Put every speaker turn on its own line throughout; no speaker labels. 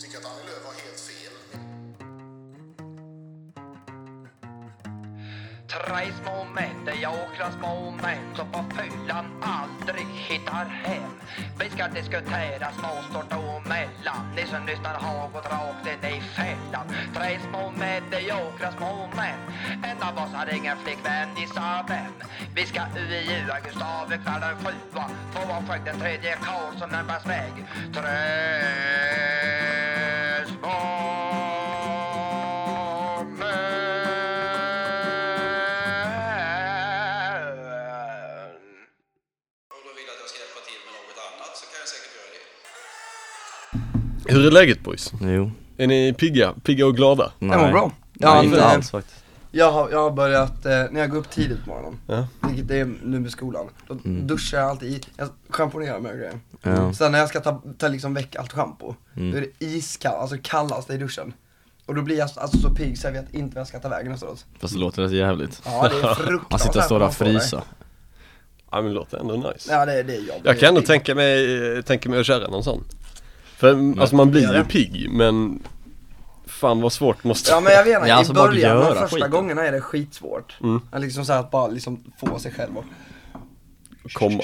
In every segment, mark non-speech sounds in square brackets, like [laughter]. tycker att Annie Lööf har helt fel.
Tre små män, det jag åkrar små män som på fyllan aldrig hittar hem. Vi ska diskutera småstort och mellan. Ni som lyssnar har gått rakt in i fällan. Tre små män, det jag åkrar små män. En av oss har ingen flickvän, gissa vem? Vi ska UIUa Gustav i kvällen sjua. Två av skägg, den tredje karl som närmast väg. Tre små män.
Om du vill att jag ska hjälpa till med något annat så kan jag säkert göra det.
Hur är läget boys?
Jo,
Är ni pigga, pigga och glada?
nej.
Det mår bra.
Nej,
Ja,
inte
men,
alls faktiskt.
Jag har, jag har börjat, eh, när jag går upp tidigt på morgonen,
Ja.
vilket det är nu med skolan, då
Mm.
duschar jag alltid i, jag schamponerar mig och grejer.
Ja.
Sen när jag ska ta, ta liksom väck allt schampo,
Mm.
då är det iskall, alltså kallast i duschen. Och då blir jag alltså så pigg så jag vet inte vad jag ska ta vägen efteråt.
Fast det låter rätt jävligt.
Ja det är fruktansvärt.
[laughs] Han sitter och står där och
man får det.
fryser.
Ja men det låter ändå nice
Ja det, är- det är jobbigt.
Jag kan ändå tänka mig, eh, tänka mig att köra någon sån För alltså man blir
Ja,
ju
ja.
pigg men Fan vad svårt måste [laughs]
Ja men jag vet inte,
Ja, alltså
i
bara
början, de
göra
första
skiten. Mm.
gångerna är det skitsvårt. Att liksom så här, att bara liksom få sig själv och,
komma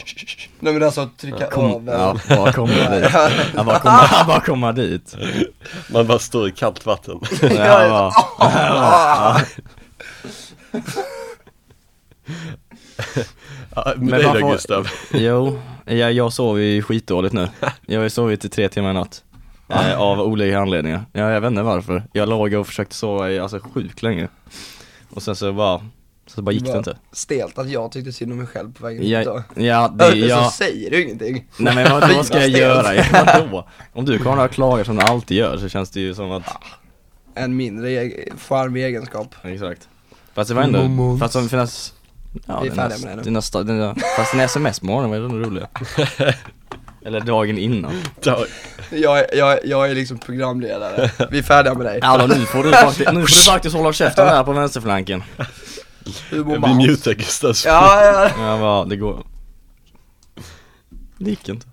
nej men alltså trycka
Kom,
över. [laughs]
ja, bara komma dit. Jag bara komma, bara komma dit.
Man bara står i kallt
[laughs]
vatten
Jag bara,
ja, Med
Men
dig
varför-
då Gustav
Jo, jag, jag sover ju skitdåligt nu. Jag har ju sovit i tre timmar i natt. Eh, av olika anledningar. Ja, jag vet inte varför. Jag låg och försökte sova i, alltså sjukt länge. Och sen så bara, så bara gick det inte.
Stelt att jag tyckte synd om mig själv på vägen hit då.
Jag, ja, det,
[laughs] Det, Så
jag,
säger du ingenting.
nej men vad, vad ska jag
Fy, vad
göra? [laughs] Ja, Vadå? Om du kommer och klagar som du alltid gör så känns det ju som att
En mindre e- charmig egenskap.
Ah, Exakt. Fast det var ändå, fast som finns Ja,
Vi är
det
färdiga
nästa,
med det nu.
det nästa, det nästa, fast den sms-morgonen var ju den [laughs] roliga. Eller dagen innan. [laughs]
Där.
Jag, är- jag, är- jag är liksom programledare. Vi är färdiga med dig.
Alltså nu får du faktiskt, nu får du faktiskt hålla käften där på vänsterflanken.
Hur mår
Vi
man?
mutar Gustavs
Ja, ja.
Jag bara, det går. Det gick inte.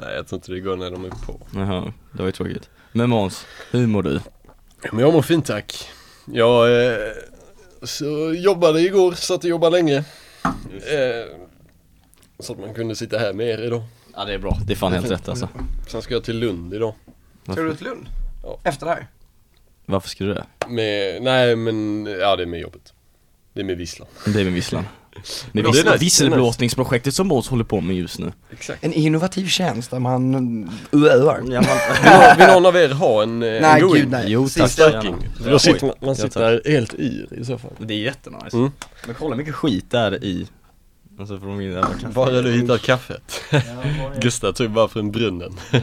Nej jag tror inte det går när de är på
Jaha, det var ju tråkigt. Men Måns, hur mår du?
Men jag mår fint tack Jag eh, så jobbade igår, satt och jobbade länge eh, Så att man kunde sitta här med er idag
Ja det är bra, det är fan helt rätt alltså.
Sen ska jag till Lund idag
Ska du till Lund?
Ja.
Efter det här?
Varför skulle du det?
Med, nej men, ja det är med jobbet Det är med visslan
Det är med visslan. Med
Det är nice, det är
visslan,
nice.
visselblåsningsprojektet som Måns håller på med just nu.
Exakt
En innovativ tjänst där man övar.
Vill,
Ja, man,
nå- vill någon av er ha en, eh,
Nej
en going?
gud nej.
Jo, tack.
Sista-
Stöking.
Gärna.
Då sitter man, man
Jag
sitter helt yr i så fall
[laughs] Det är jättenice.
Mm.
Men kolla mycket skit där i. Alltså från min jävla kaffe.
Bara du hittar kaffet [laughs] Gustav tog bara från brunnen [laughs]
Ja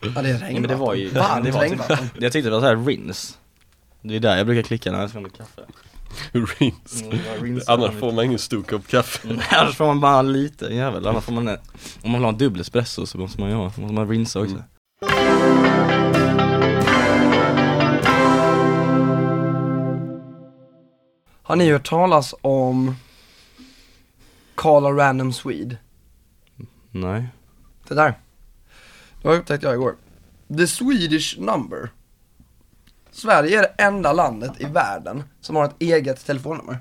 det är
Nej men det var ju,
regnvatten.
det
alltså, Varmt
var typ,
regnvatten.
jag tyckte det var såhär rins. Det är där jag brukar klicka när jag ska ha kaffe.
Rins
Mm.
Annars får man ingen stor kopp kaffe
man Annars får man bara lite jävel, annars får man en, om man vill ha en dubbel espresso så måste man ju ha, måste man rinsa också.
Har ni hört talas om Call a random Swede?
Nej.
Det där. Det har upptäckt jag igår. The Swedish number. Sverige är det enda landet i världen som har ett eget telefonnummer.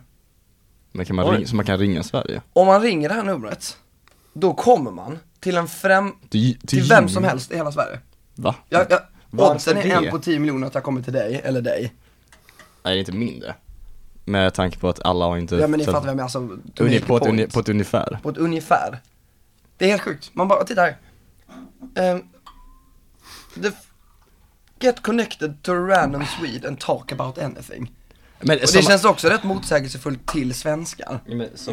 Men kan man ringa, så man kan ringa Sverige?
Om man ringer det här numret, då kommer man till en främ...
Till,
Till vem som helst i hela Sverige.
Va?
Jag, jag,
Varför
oddsen är
det?
en på tio miljoner att jag kommer till dig, eller dig.
Nej det är inte mindre. Med tanke på att alla har inte...
Ja men ni
så-
fattar vad jag menar, alltså, to
Uni-
make a
på, ett,
point.
uni- på ett ungefär.
på ett ungefär. Det är helt sjukt. Man bara, titta här. Ehm, the f- get connected to a random Swede and talk about anything.
Men,
Och det känns också rätt motsägelsefullt till svenskar.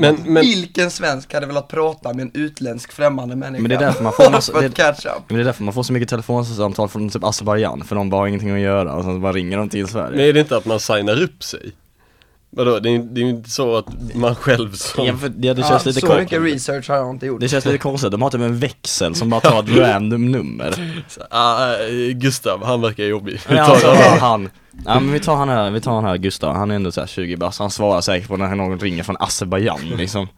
Men, men,
Vilken svensk hade velat prata med en utländsk främmande människa?
Men det är därför
[laughs]
man får-
för att
det-
catch up.
Men det är därför man får så mycket telefonsamtal från typ Azerbaijan för de bara har ingenting att göra och sen bara ringer de till Sverige.
men är det inte att man signar upp sig? Vadå, det är, det är ju inte så att man själv som
Ja, för, ja, det
Ja,
känns lite
så
konstigt.
mycket research har jag inte gjort.
Det känns lite konstigt, de har typ en växel som bara
[laughs]
tar ett random nummer.
Ah, eh, Gustav, han verkar jobbig
Men
Vi
alltså
tar-
[laughs] bara han, ja men vi tar han här, vi tar han här Gustav, han är ändå såhär 20 bast, han svarar säkert på när någon ringer från Azerbaijan liksom.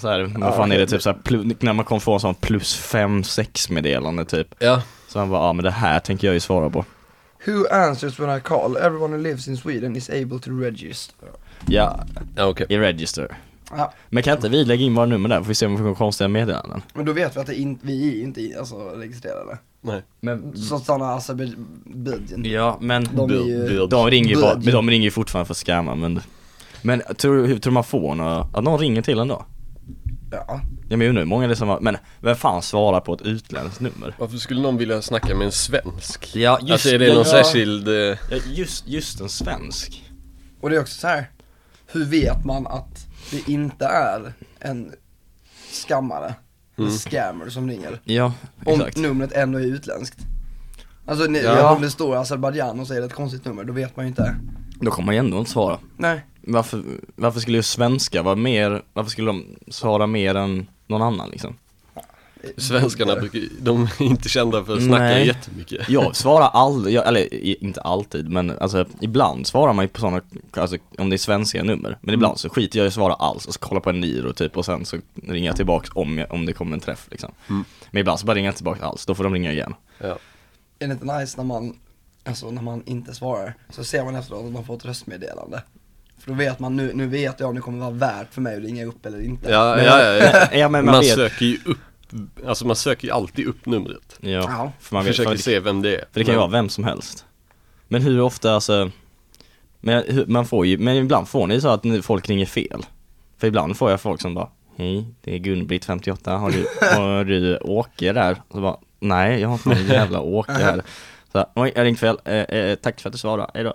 Så här, vad fan är det typ såhär, plu- när man kommer få en sån plus 5-6 meddelande typ.
Ja,
Så han bara, ja men det här tänker jag ju svara på.
Who answers when I call? Everyone who lives in Sweden is able to register.
Ja,
Ja, okej.
i register.
Ja,
Men kan inte vi lägga in våra nummer där? Får vi se om vi får konstiga meddelanden.
men då vet vi att det in, vi är inte alltså, registrerade.
Nej.
Men,
Så sådana Azerbajdzjan.
ja men
De är
Bud-
ju...
bud.
De ringer ju
Bud.
bara- men de ringer ju fortfarande för att scamma men Men tror, hur tror man får några, att någon ringer till en då?
Ja.
Ja men jag undrar hur många det är som har, men vem fan svarar på ett utländskt nummer?
Varför skulle någon vilja snacka med en svensk?
Ja just,
alltså är det
ja,
någon
ja,
särskild... Eh,
ja, just, just en svensk
Och det är också så här. hur vet man att det inte är en skammare, en scammer som ringer?
Ja,
Om
exakt
numret ändå är utländskt. Alltså ni,
Ja.
om det står Azerbajdzjan och så är det ett konstigt nummer, då vet man ju inte.
Då kommer man ju ändå inte svara
Nej.
Varför, varför skulle just svenskar vara mer, varför skulle de svara mer än någon annan liksom?
svenskarna brukar, de är inte kända för att snacka
Nej.
jättemycket.
[laughs] Jag svarar aldrig, jag, eller i- inte alltid men alltså ibland svarar man ju på sådana, alltså om det är svenska nummer
Mm.
Men ibland så skiter jag i att svara alls och så kollar på en Niro typ och sen så ringer jag tillbaks om, jag, om det kommer en träff liksom
Mm.
Men ibland så bara ringer jag inte tillbaks alls, då får de ringa igen
Ja.
Är det inte nice när man, alltså när man inte svarar, så ser man efteråt att man får ett röstmeddelande. För då vet man, nu, nu vet jag om det kommer vara värt för mig att ringa upp eller inte.
Ja, ja, ja, ja.
ja men [laughs]
Man,
man, vet
söker ju upp, alltså man söker ju alltid upp numret.
Ja,
Ja.
för man vet
Försöker
för, det,
se vem det är.
för det kan ju
Men-
vara vem som helst Men hur ofta alltså, men hur, man får ju, men ibland får ni ju så att ni- folk ringer fel För ibland får jag folk som bara Hej, det är Gun-Britt 58, har du, har du Åke där? Och så bara, nej jag har inte någon jävla Åke här så, här, Oj, jag ringde fel, eh, eh, tack för att du svarade, hejdå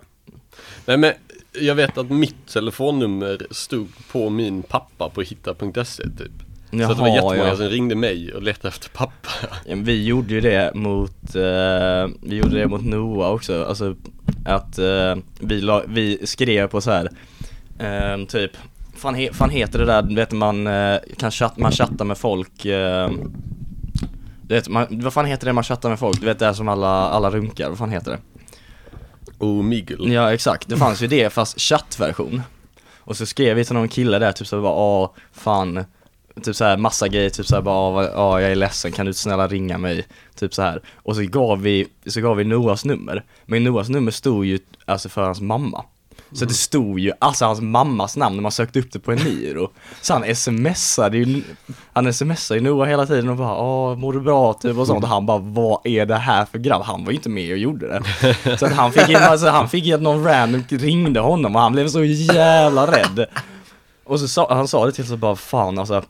Nej men jag vet att mitt telefonnummer stod på min pappa på hitta.se typ. så att det var
Jaha,
jättemånga
ja.
som ringde mig och letade efter pappa.
Ja, men Vi gjorde ju det mot, eh, vi gjorde det mot Noah också, alltså att eh, vi, la, vi skrev på så här ehm, typ fan, he, fan heter det där, du vet man eh, kan chatta, man chattar med folk eh, du vet, man, vad fan heter det man chattar med folk? Du vet det här som alla, alla runkar, vad fan heter det?
Och migel.
Ja exakt, det fanns ju det fast chattversion Och så skrev vi till någon kille där typ så bara ah fan Typ såhär massa grejer, typ såhär bara "Ah, vad- ah jag är ledsen, kan du snälla ringa mig? Typ så här. Och så gav vi, så gav vi Noahs nummer Men Noahs nummer stod ju alltså för hans mamma så det stod ju alltså hans mammas namn när man sökte upp det på en Eniro. Så han smsade ju, han smsade ju Noah hela tiden och bara åh mår du bra typ och sånt och han bara vad är det här för grabb? Han var ju inte med och gjorde det. Så att han fick ju, alltså, han fick ju att någon random ringde honom och han blev så jävla rädd. Och så sa, han sa det till så bara fan alltså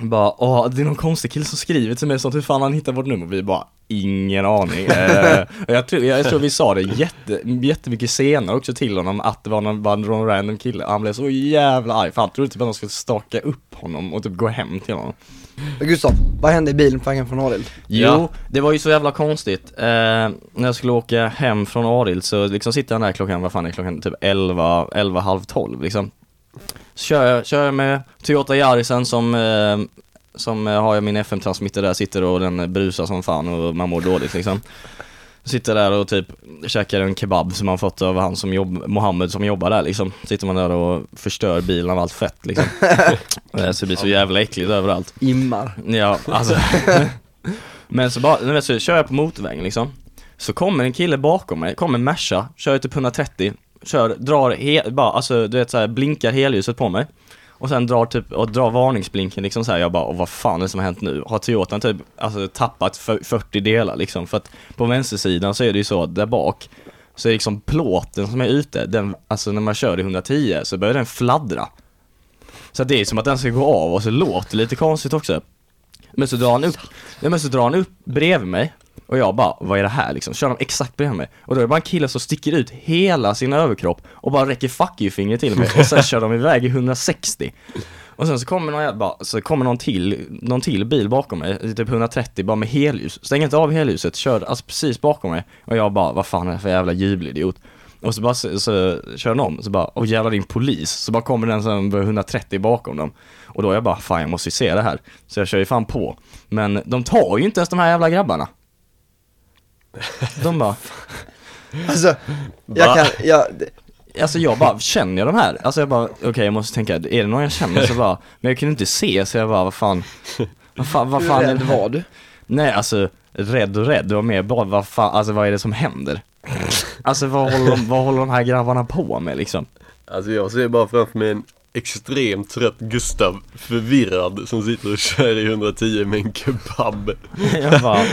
bara, åh, det är någon konstig kille som skriver till mig sånt, hur fan han hittar vårt nummer? Vi bara, ingen aning. Eh, och jag, tror, jag, jag tror vi sa det jätte, jättemycket senare också till honom, att det var någon, bara någon random kille. Han blev så jävla arg, för han trodde typ att de skulle staka upp honom och typ gå hem till honom.
Gustav, vad hände i bilen på vägen från Arild?
Jo,
Ja.
det var ju så jävla konstigt. Eh, när jag skulle åka hem från Arild så liksom sitter han där klockan, vad fan är klockan, typ 11, 11, halv 12 liksom. Så kör jag, kör jag med Toyota Yarisen som, eh, som eh, har jag min FM-transmitter där, sitter och den brusar som fan och man mår dåligt liksom. Sitter där och typ käkar en kebab som man fått av han som jobb, Mohammed som jobbar där liksom. Sitter man där och förstör bilen av allt fett liksom. Eh, så det blir så jävla äckligt överallt.
Immar.
Ja, alltså. Men så bara, men så kör jag på motorvägen liksom. Så kommer en kille bakom mig, kommer en Merca, kör typ 130, kör, drar he- bara, alltså du vet så här, blinkar helljuset på mig. Och sen drar typ, och drar varningsblinken liksom så här. jag bara, åh, vad fan är det som har hänt nu? Har Toyotan typ, alltså tappat för- 40 delar liksom? För att på vänstersidan så är det ju så, att där bak, så är det liksom plåten som är ute, den, alltså när man kör i 110 så börjar den fladdra. Så att det är som att den ska gå av och så låter det lite konstigt också. Men så drar han upp, nej men så drar han upp bredvid mig och jag bara, vad är det här liksom? Kör de exakt bredvid mig och då är det bara en kille som sticker ut hela sin överkropp och bara räcker fuck you-fingret till mig och sen kör de iväg i 160. Och sen så kommer någon, jag bara, så kommer någon till, någon till bil bakom mig, i typ 130, bara med helljus. Stänger inte av helljuset, kör alltså precis bakom mig. Och jag bara, vad fan är det för jävla jubelidiot? Och så bara, så, så kör den om, så bara, åh jävlar din polis. Så bara kommer den som var 130 bakom dem. Och då är jag bara, fan jag måste ju se det här. Så jag kör ju fan på. Men de tar ju inte ens de här jävla grabbarna. De bara,
Alltså, jag kan, jag, det-
Alltså jag bara, känner jag de här? Alltså jag bara, okej jag måste tänka, är det någon jag känner? Så bara, men jag kunde inte se så jag bara, vad fan, vad fan, vad
hur
fan är
rädd
det?
var du?
Nej alltså, rädd och rädd, det var mer bara, vad fan, alltså vad är det som händer? Alltså vad håller, de, vad håller de här grabbarna på med liksom?
Alltså jag ser bara framför mig en extremt trött Gustav, förvirrad, som sitter och kör i 110 med en kebab.
Jag bara,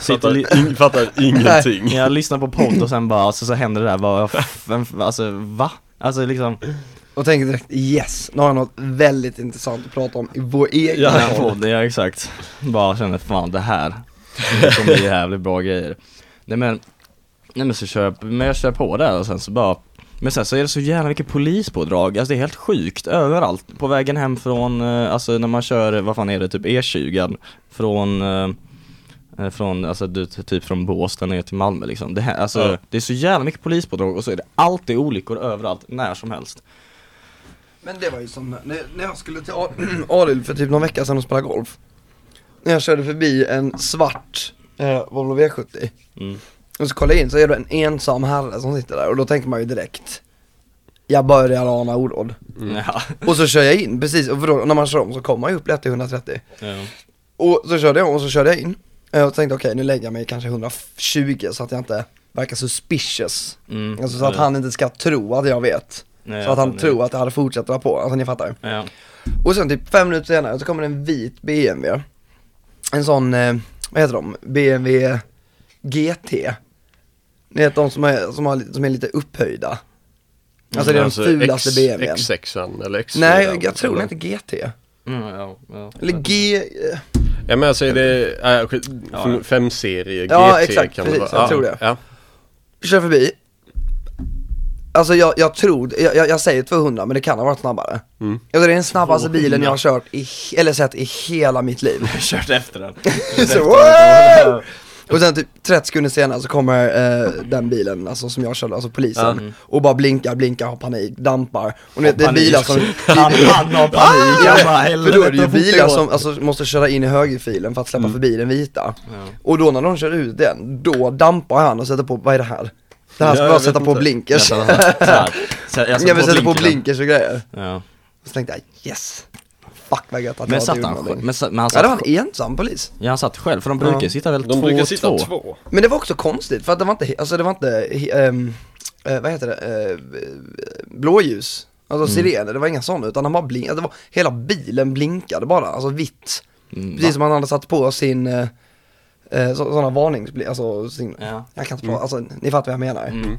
sitter, li-
Fattar, in,
[laughs]
fattar ingenting.
jag lyssnar på podd och sen bara, alltså, så händer det där, bara, vem, alltså va? Alltså liksom,
Och tänker direkt yes, nu har jag något väldigt intressant att prata om i vår egen
den
ja,
här podden, ja exakt. Bara känner fan det här, det kommer bli jävligt bra grejer. Nej men, nej men så kör jag, men jag kör på där och sen så bara men sen så är det så jävla mycket polispådrag, alltså det är helt sjukt överallt. På vägen hem från, eh, alltså när man kör, vad fan är det, typ E20 från, eh, eh, från, alltså du, typ från Båstad ner till Malmö liksom. Det, här, alltså,
Ja.
det är så jävla mycket polispådrag och så är det alltid olyckor överallt, när som helst.
Men det var ju som när, när jag skulle till A- [clears throat] Arild för typ någon vecka sedan och spela golf När jag körde förbi en svart eh, Volvo V70
Mm.
Och så kollar jag in så är det en ensam herre som sitter där och då tänker man ju direkt Jag börjar ana oråd
Ja.
Och så kör jag in, precis, och för då, när man kör om så kommer man ju upp lätt till 130 Och så körde jag om och så körde jag in Eh, Och tänkte okej nu lägger jag mig kanske 120 så att jag inte verkar suspicious
Mm.
Alltså så att han inte ska tro att jag vet
Nej,
Så att han
ja.
tror att jag hade fortsatt dra på, alltså ni fattar
Ja.
Och sen typ fem minuter senare så kommer det en vit BMW En sån, eh, vad heter de? BMW GT Ni vet de som är, som har, som är lite upphöjda Alltså
Mm,
det är den fulaste BMWn
X6an eller X4.
Nej jag tror den heter GT
Mm, ja, ja.
Eller G, eh,
Ja men alltså är det, äh, skit-
Ja.
fem serier
Ja,
GT
exakt,
kan det
precis,
vara.
jag tror det.
Ja.
kör förbi Alltså jag, jag tror, jag, jag, jag säger 200 men det kan ha varit snabbare
Mm.
Alltså det är den snabbaste bilen
200.
jag har kört i, he- eller sett i hela mitt liv
[laughs]
[laughs]
Kört efter den.
Så, wow! Och sen typ 30 sekunder senare så kommer eh, den bilen, alltså som jag körde, alltså polisen Och bara blinkar, blinkar, har panik, dampar Och ni vet, det är
Panik.
bilar som,
[laughs]
Ah!
Han, han har panik, jag bara
för då är det
"Helvete,
ju
vad fort
bilar
går."
som alltså, måste köra in i högerfilen för att
Mm.
släppa förbi den vita Och då när de kör ut den, då dampar han och sätter på, vad är det här? Det här
Ja,
ska
jag
bara
vet
sätta på
inte.
Jag
blinkers
satt
[laughs]
och- så här. Så jag
[laughs] Ja men sätter på
blinkerna.
blinkers och grejer
Ja.
Och så tänkte jag, yes! Fuck vad gött att
Men
jag inte
satt
gjorde
han själv?
någonting
Men, sa- men han
Ja det var
satt,
en ensam polis
ja, han satt själv, för de brukar
Ja.
sitta väl
De
två
brukar
och
sitta
två?
två.
Men det var också konstigt för att det var inte, alltså det var inte, he- ehm, eh, vad heter det, eh, blåljus, alltså
Mm.
sirener, det var inga sådana utan han bara blinkade, det var, hela bilen blinkade bara, alltså vitt.
Mm,
Precis
va?
som han hade satt på sin, eh, eh, så, sådana varningsblinkare, alltså sin,
Ja.
jag kan inte prata, alltså ni fattar vad jag menar.
Mm.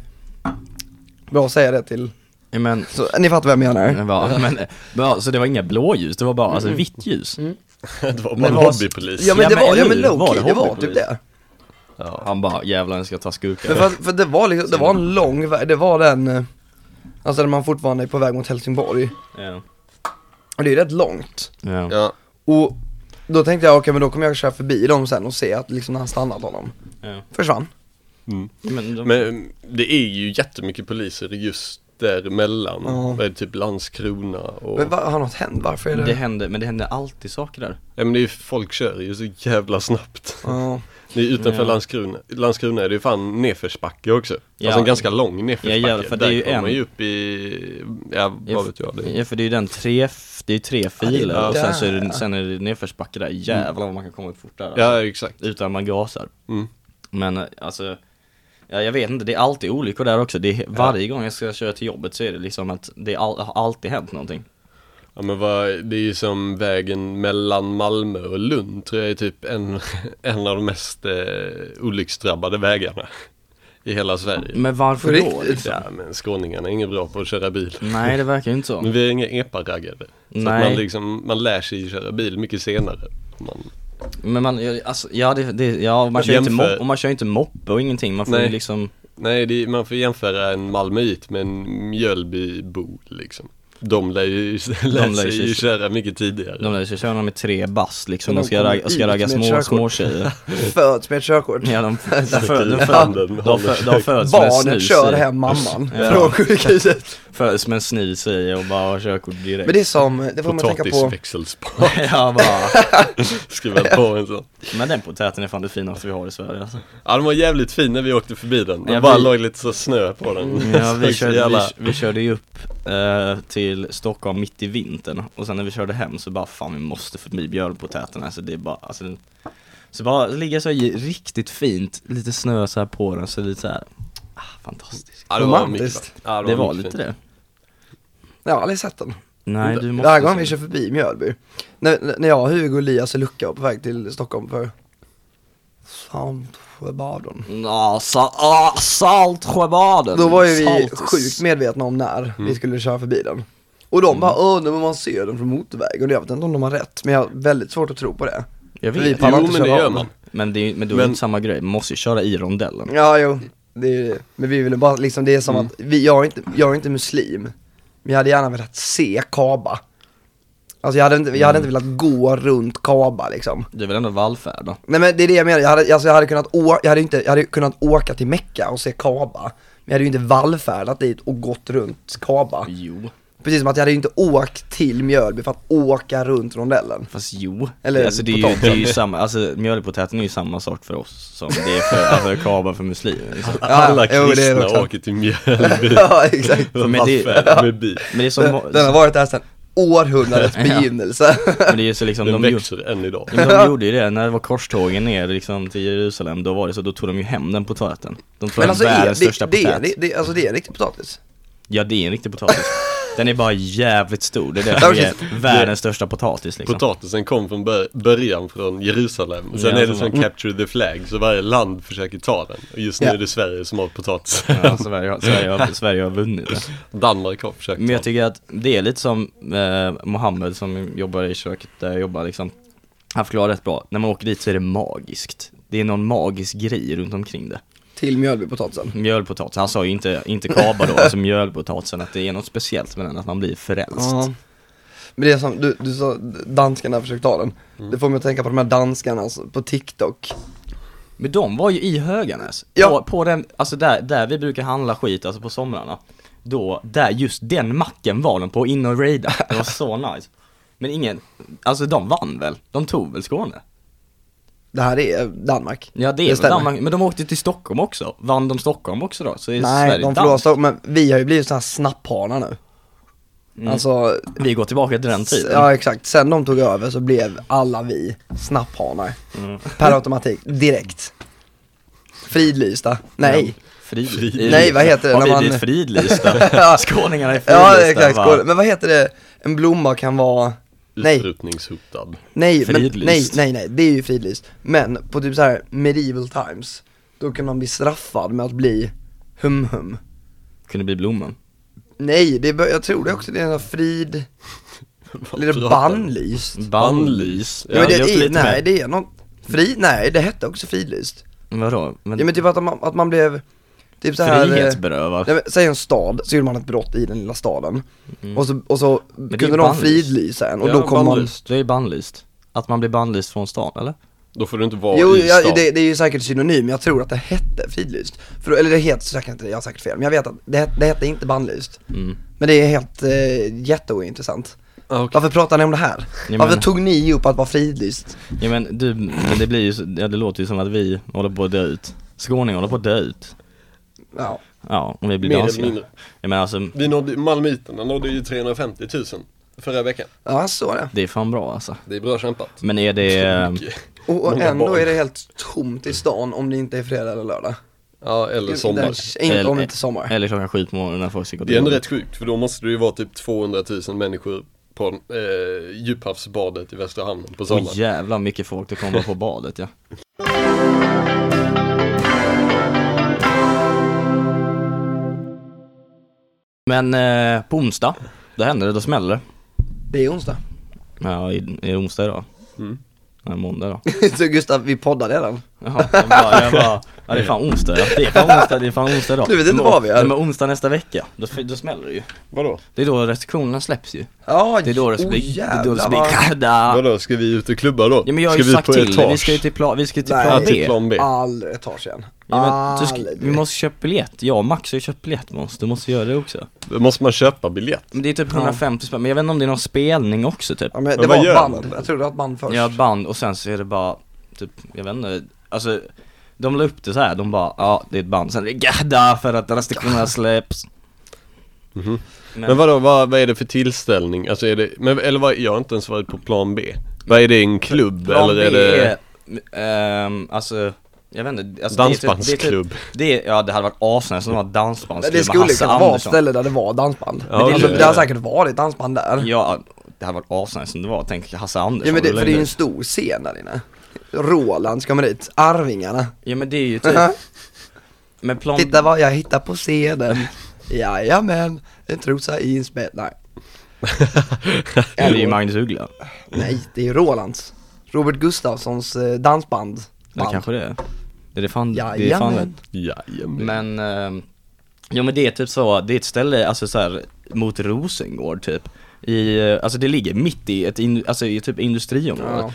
Bra att säga det till,
Ja, Men,
så, ni fattar vad jag
[laughs]
menar.
men, va, men, ja, så det var inga blåljus, det var bara alltså, vitt ljus?
Det var bara
Men
en
vad-
hobbypolis.
Mm. Ja men det
Ja, men
var, ja
eller
men
hur?
low
Var
key,
det
det var
hobbypolis?
typ det.
Han bara, jävlar jag ska ta skurkar.
Men för, att- för det var liksom, det var en lång väg, det var den, eh, alltså där man fortfarande är på väg mot Helsingborg.
Ja.
Och det är ju rätt långt.
Ja.
Ja.
Och då tänkte jag, okej men då kommer jag köra förbi dem sen och se att liksom när han stannat honom
Ja.
Försvann
Men, de,
Men det är ju jättemycket poliser just däremellan.
Ja.
Det är typ Landskrona och...
Men vad, har något hänt? Varför är det?
det hände, men det hände alltid saker där.
Ja men det är ju, folk kör ju så jävla snabbt.
Ja,
Det är utanför
Ja.
Landskrona, Landskrona är det ju fan nedförsbacke också.
Ja.
Alltså en ganska lång nedförsbacke.
Ja, ja, för det är
Där
ju
kommer
en-
man ju upp i, ja vad vet jag. Det är...
Ja för det är ju den tre, det är ju tre filer
Ja,
och sen så är
där.
det, sen är det nedförsbacke där, jävlar vad man kan komma upp fort där alltså.
Ja exakt.
Utan man gasar
Mm.
Men eh, alltså Ja, jag vet inte, det är alltid olyckor där också. Det är, Varje gång jag ska köra till jobbet så är det liksom att det är all, har alltid hänt någonting.
Ja men vad, det är ju som vägen mellan Malmö och Lund tror jag är typ en, [laughs] en av de mest eh, olycksdrabbade vägarna i hela Sverige.
Men varför
På
då?
riktigt?
Liksom?
Ja men skåningarna är inget bra på att köra bil.
Nej, det verkar ju inte
Men
så.
vi är inga epa-raggare. Så att
Nej.
man liksom, man lär sig köra bil mycket senare. Man,
Men man, ja, alltså, ja, det, det, ja och man, kör ju inte
Jämför-
mop, och man kör ju inte moppe och ingenting. Man får
Nej.
ju liksom,
nej det, man får jämföra en malmöit med en mjölbybo liksom. De lär ju, [laughs] lär
lär
sig
sig-
ju köra mycket tidigare.
de där ska köra med tre bast liksom
Men
och
de
ska,
kommer
ragga- och ska
ut
ragga
med
små,
körkort.
små tjejer.
föds med ett körkort
Ja, de, de, de,
Sticker i
de, de,
handen,
de, de,
håller
de, de föds med
Barnet
snus
kör
i.
hem mamman
Ja.
från sjukhuset
Föds med en snus i och bara har körkort direkt.
Men det är som, det får man tänka
[laughs]
på
Potatisväxelspar,
[laughs] ja, bara,
skriva på en sån.
men den potäten är fan det finaste vi har i Sverige alltså.
Ja den var jävligt fin när vi åkte förbi den, det
Ja,
bara
vi- Mm,
låg lite så snö på den [laughs]
Ja,
Mm. Så
vi, körde,
jävla-
vi, vi körde ju upp eh, till Stockholm mitt i vintern och sen när vi körde hem så bara fan vi måste förbi björnpotäten alltså det är bara alltså, den- Så bara ligga så i riktigt fint, lite snö så här på den så lite så här. Ah, fantastiskt.
Ja,
Romantiskt.
mycket bra. Ja,
det var
mycket
lite det.
Jag har aldrig sett den.
Nej, du måste
Varje gång
se.
vi kör förbi Mjölby, när, när jag, Hugo, Elias och Luca var på väg till Stockholm för Saltsjöbaden.
Ja, sa, ah, Saltsjöbaden.
Då var ju vi
Saltis.
sjukt medvetna om när vi skulle köra förbi den. Och de bara, åh, nu man ser den från motorvägen. Och jag vet inte om de har rätt, men jag har väldigt svårt att tro på det.
Jag
vi
vet.
pallar
Jo,
inte
men det
köra
gör
om
man.
Men, det är, ju- men då är det
Men-
inte samma grej, man måste ju köra i rondellen.
Ja, jo. Det är, det. men vi ville bara, liksom det är som
Mm.
att, vi, jag, är inte, jag är inte muslim, men jag hade gärna velat se Kaaba. Alltså jag hade inte, jag hade
Mm.
inte velat gå runt Kaaba liksom.
Du vill ändå vallfärda.
Nej men det är det jag menar, jag hade, alltså, jag hade kunnat å, jag hade inte, jag hade kunnat åka till Mecka och se Kaaba. Men jag hade ju inte vallfärdat dit och gått runt Kaaba.
Mm.
Jo.
Precis som att jag hade ju inte åkt till Mjölby för att åka runt rondellen.
Fast jo.
Eller
alltså det är, ju, det är ju samma, alltså mjölkpotäten är ju samma sak för oss som det är för, alltså kaba för muslimer.
[laughs]
Liksom.
Alla
Ja, jo, det är det
kristna
också.
åker till
[laughs]
Mjölby.
ja exakt.
För
Men det-
vaffel med bi.
Men det är som,
Den, den har varit där sedan
[laughs]
århundradets begynnelse.
men det är ju så liksom,
Den
de, gjorde,
växer än idag.
men
[laughs]
de gjorde ju det när det var korstågen ner liksom till Jerusalem, då var det så, då tog de ju hem den potäten. De tog
Men
hem
alltså det, är-
världens
det,
största
det, är-
potät.
det, det, alltså det är riktig potatis.
Ja det är en riktig potatis. Den är bara jävligt stor, det är det
[laughs] Ja,
som är
precis.
världens största potatis liksom.
Potatisen kom från bör- början från Jerusalem. Och sen
Ja,
är det
så
som
var-
capture the flag, så varje land försöker ta den. Och just nu
Ja.
är det Sverige som har potatis.
Ja, Sverige, har- Sverige, har- Sverige har vunnit det.
Danmark har försökt
Men
ta den.
jag tycker att det är lite som eh, Mohammed som jobbar i köket där jag jobbar liksom Han förklarar rätt bra, när man åker dit så är det magiskt Det är någon magisk grej runt omkring det
Till Mjölbypotatisen.
Mjölpotatis, han sa ju inte, inte kaba då, alltså mjölpotatisen att det är något speciellt med den, att man blir frälst
Ja. Men det är som, du, du sa, danskarna försökte ta den.
Mm.
Det får mig att tänka på de här danskarna alltså, på TikTok.
Men de var ju i Höganäs,
Ja.
på, på den, alltså där, där vi brukar handla skit, alltså på somrarna Då, där just den macken var de på, in och raida, det var
[laughs]
så nice Men ingen, alltså de vann väl? De tog väl Skåne?
Det här är Danmark.
Ja det är väl
stämmer.
Danmark, men de åkte till Stockholm också. Vann de Stockholm också då? Så är
Nej,
Sverige
de förlorar så, men vi har ju blivit sådana här snapphanar nu.
Mm.
Alltså,
danskt. Vi går tillbaka till den
s-
tiden.
ja exakt. Sen de tog över så blev alla vi snapphanar.
Mm.
Per automatik, direkt. Fridlysta. Nej.
Frid...
Frid-
Nej, vad heter det
Har
när
vi
man-
blivit
[laughs]
fridlysta? Skåningarna är fridlysta.
Ja, exakt.
va?
Skål. Men vad heter det? En blomma kan vara... Nej,
Utrotningshotad.
Nej, men,
Fridlyst.
nej, nej, nej, det är ju fridlyst. Men på typ så här medieval times, då kan man bli straffad med att bli hum-hum.
Kunde bli Blomman.
Nej, det är, bör- jag tror det också, det är en sån här
[laughs]
frid, eller
pratar du?
bannlyst.
Bannlys.
Ja, men det,
jag har
är,
lite
nej,
med.
det är något, fri, nej, det hette också fridlyst.
Vadå? Men...
Ja men typ att man, att man blev, typ så här eh,
Frihetsberövad.
Nej, men, säg en stad, så gjorde man ett brott i den lilla staden.
Mm.
Och så, och så
är
kunde de
bannlyst.
fridlysa en och
Ja,
då kom man
bannlyst.
Det är bannlyst. Att man blir bannlyst från stan, eller?
Då får du inte vara
Jo,
i
ja,
stan.
det, det är ju säkert synonym, jag tror att det hette fridlyst. För, eller det heter säkert inte, jag har säkert fel, men jag vet att det, het- det hette inte bannlyst. Men det är helt eh, jätteointressant.
Ah, Mm. okej.
Varför pratar ni om det här?
men-
Varför tog ni upp att vara fridlyst?
Ja men du, men det blir ju, så- ja, det låter ju som att vi håller på att dö ut. Skåningar håller på att dö ut.
Ja.
Ja, om vi blir
Mer eller
danska.
mindre.
Ja men alltså,
Vi nådde, Malmöiterna nådde ju 350 000 förra veckan.
ja, så är det.
det är fan bra alltså.
Det är bra kämpat.
Men är det,
Mycket.
Och, och
Många
ändå
barn.
är det helt tomt i stan om det inte är fredag eller lördag.
Ja, eller sommar.
Där- Inte om det inte är sommar.
eh, Eller klockan sju på morgonen när folk ska gå
Det är ändå
jobbet.
rätt sjukt, för då måste det ju vara typ 200 000 människor på eh, djuphavsbadet i Västra Hamnen på sommaren.
Åh jävla mycket folk det kommer på badet ja. Men eh, på onsdag, då händer det, då smäller det.
Det är onsdag. [laughs]
Ja, i, i onsdag idag. Nej, måndag då.
så Gustav, vi poddar redan.
Jaha, jag bara, jag bara, ja det är fan onsdag ja. Det är fan onsdag, det är fan onsdag idag.
Du vet inte
Men-
vad vi är.
Men onsdag nästa vecka, då, då smäller det ju.
Vadå?
Det är då restriktionerna släpps ju.
Ja,
Det är då det ska
oh,
bli, det är då det ska
jävlar,
bli
vad-
grädda.
Vadå, ska vi ut och klubba då?
[laughs] Ja men jag har
ska
ju
vi
sagt
på
till dig,
etage?
vi ska ju till plan, vi ska ju till
Nej.
plan
till
B.
plan B.
Aldrig etage igen.
Ja, men, du ska,
Aldrig.
vi måste köpa biljett, jag och Max har ju köpt biljett Måns, du måste göra det också.
Då måste man köpa biljett.
Men det är typ 150 spänn, men jag vet inte om det är någon spelning också typ.
Ja, men det
Men vad
var
gör
band,
man?
jag tror det var ett band först.
Jag har ett band och sen så är det bara, typ, jag vet inte, alltså de la upp det så här, de bara ja det är ett band, sen är det gadda för att restriktionerna släpps.
Men vadå, vad, vad är det för tillställning? Alltså är det, men, eller vad, jag har inte ens varit på plan B. Vad är det, en klubb
Plan
eller
B
är det?
är, ehm, alltså, jag vet inte, alltså,
Dansbandsklubb.
Det är typ, det är typ, det är, ja det hade varit asnice om det var
Men
dansbandsklubb
det
med
skulle
Hasse
kunna vara ett
Andersson.
ställe där det var dansband.
Ja, det-
alltså, det har säkert varit dansband där. Ja,
Ja, det hade varit asnice om det var, tänk Hasse Andersson
men det, för det är ju
eller-
en stor scen där inne. Roland ska man dit, Arvingarna.
Ja men det är ju typ,
Aha.
men plan...
Titta vad jag hittar på scenen. Jajamän, en trosa i en spett. Nej.
[laughs] det är ju Magnus Uggla.
Nej, det är ju Rolands. Robert Gustafssons eh, dansband.
Ja,
Band.
kanske det är. Det är fan, det är fan rätt.
Jajamän.
Jajamän.
Men, eh, ja men det är typ så, det är ett ställe, alltså så här, mot Rosengård typ. I, eh, alltså det ligger mitt i ett, in, alltså i typ industriområdet.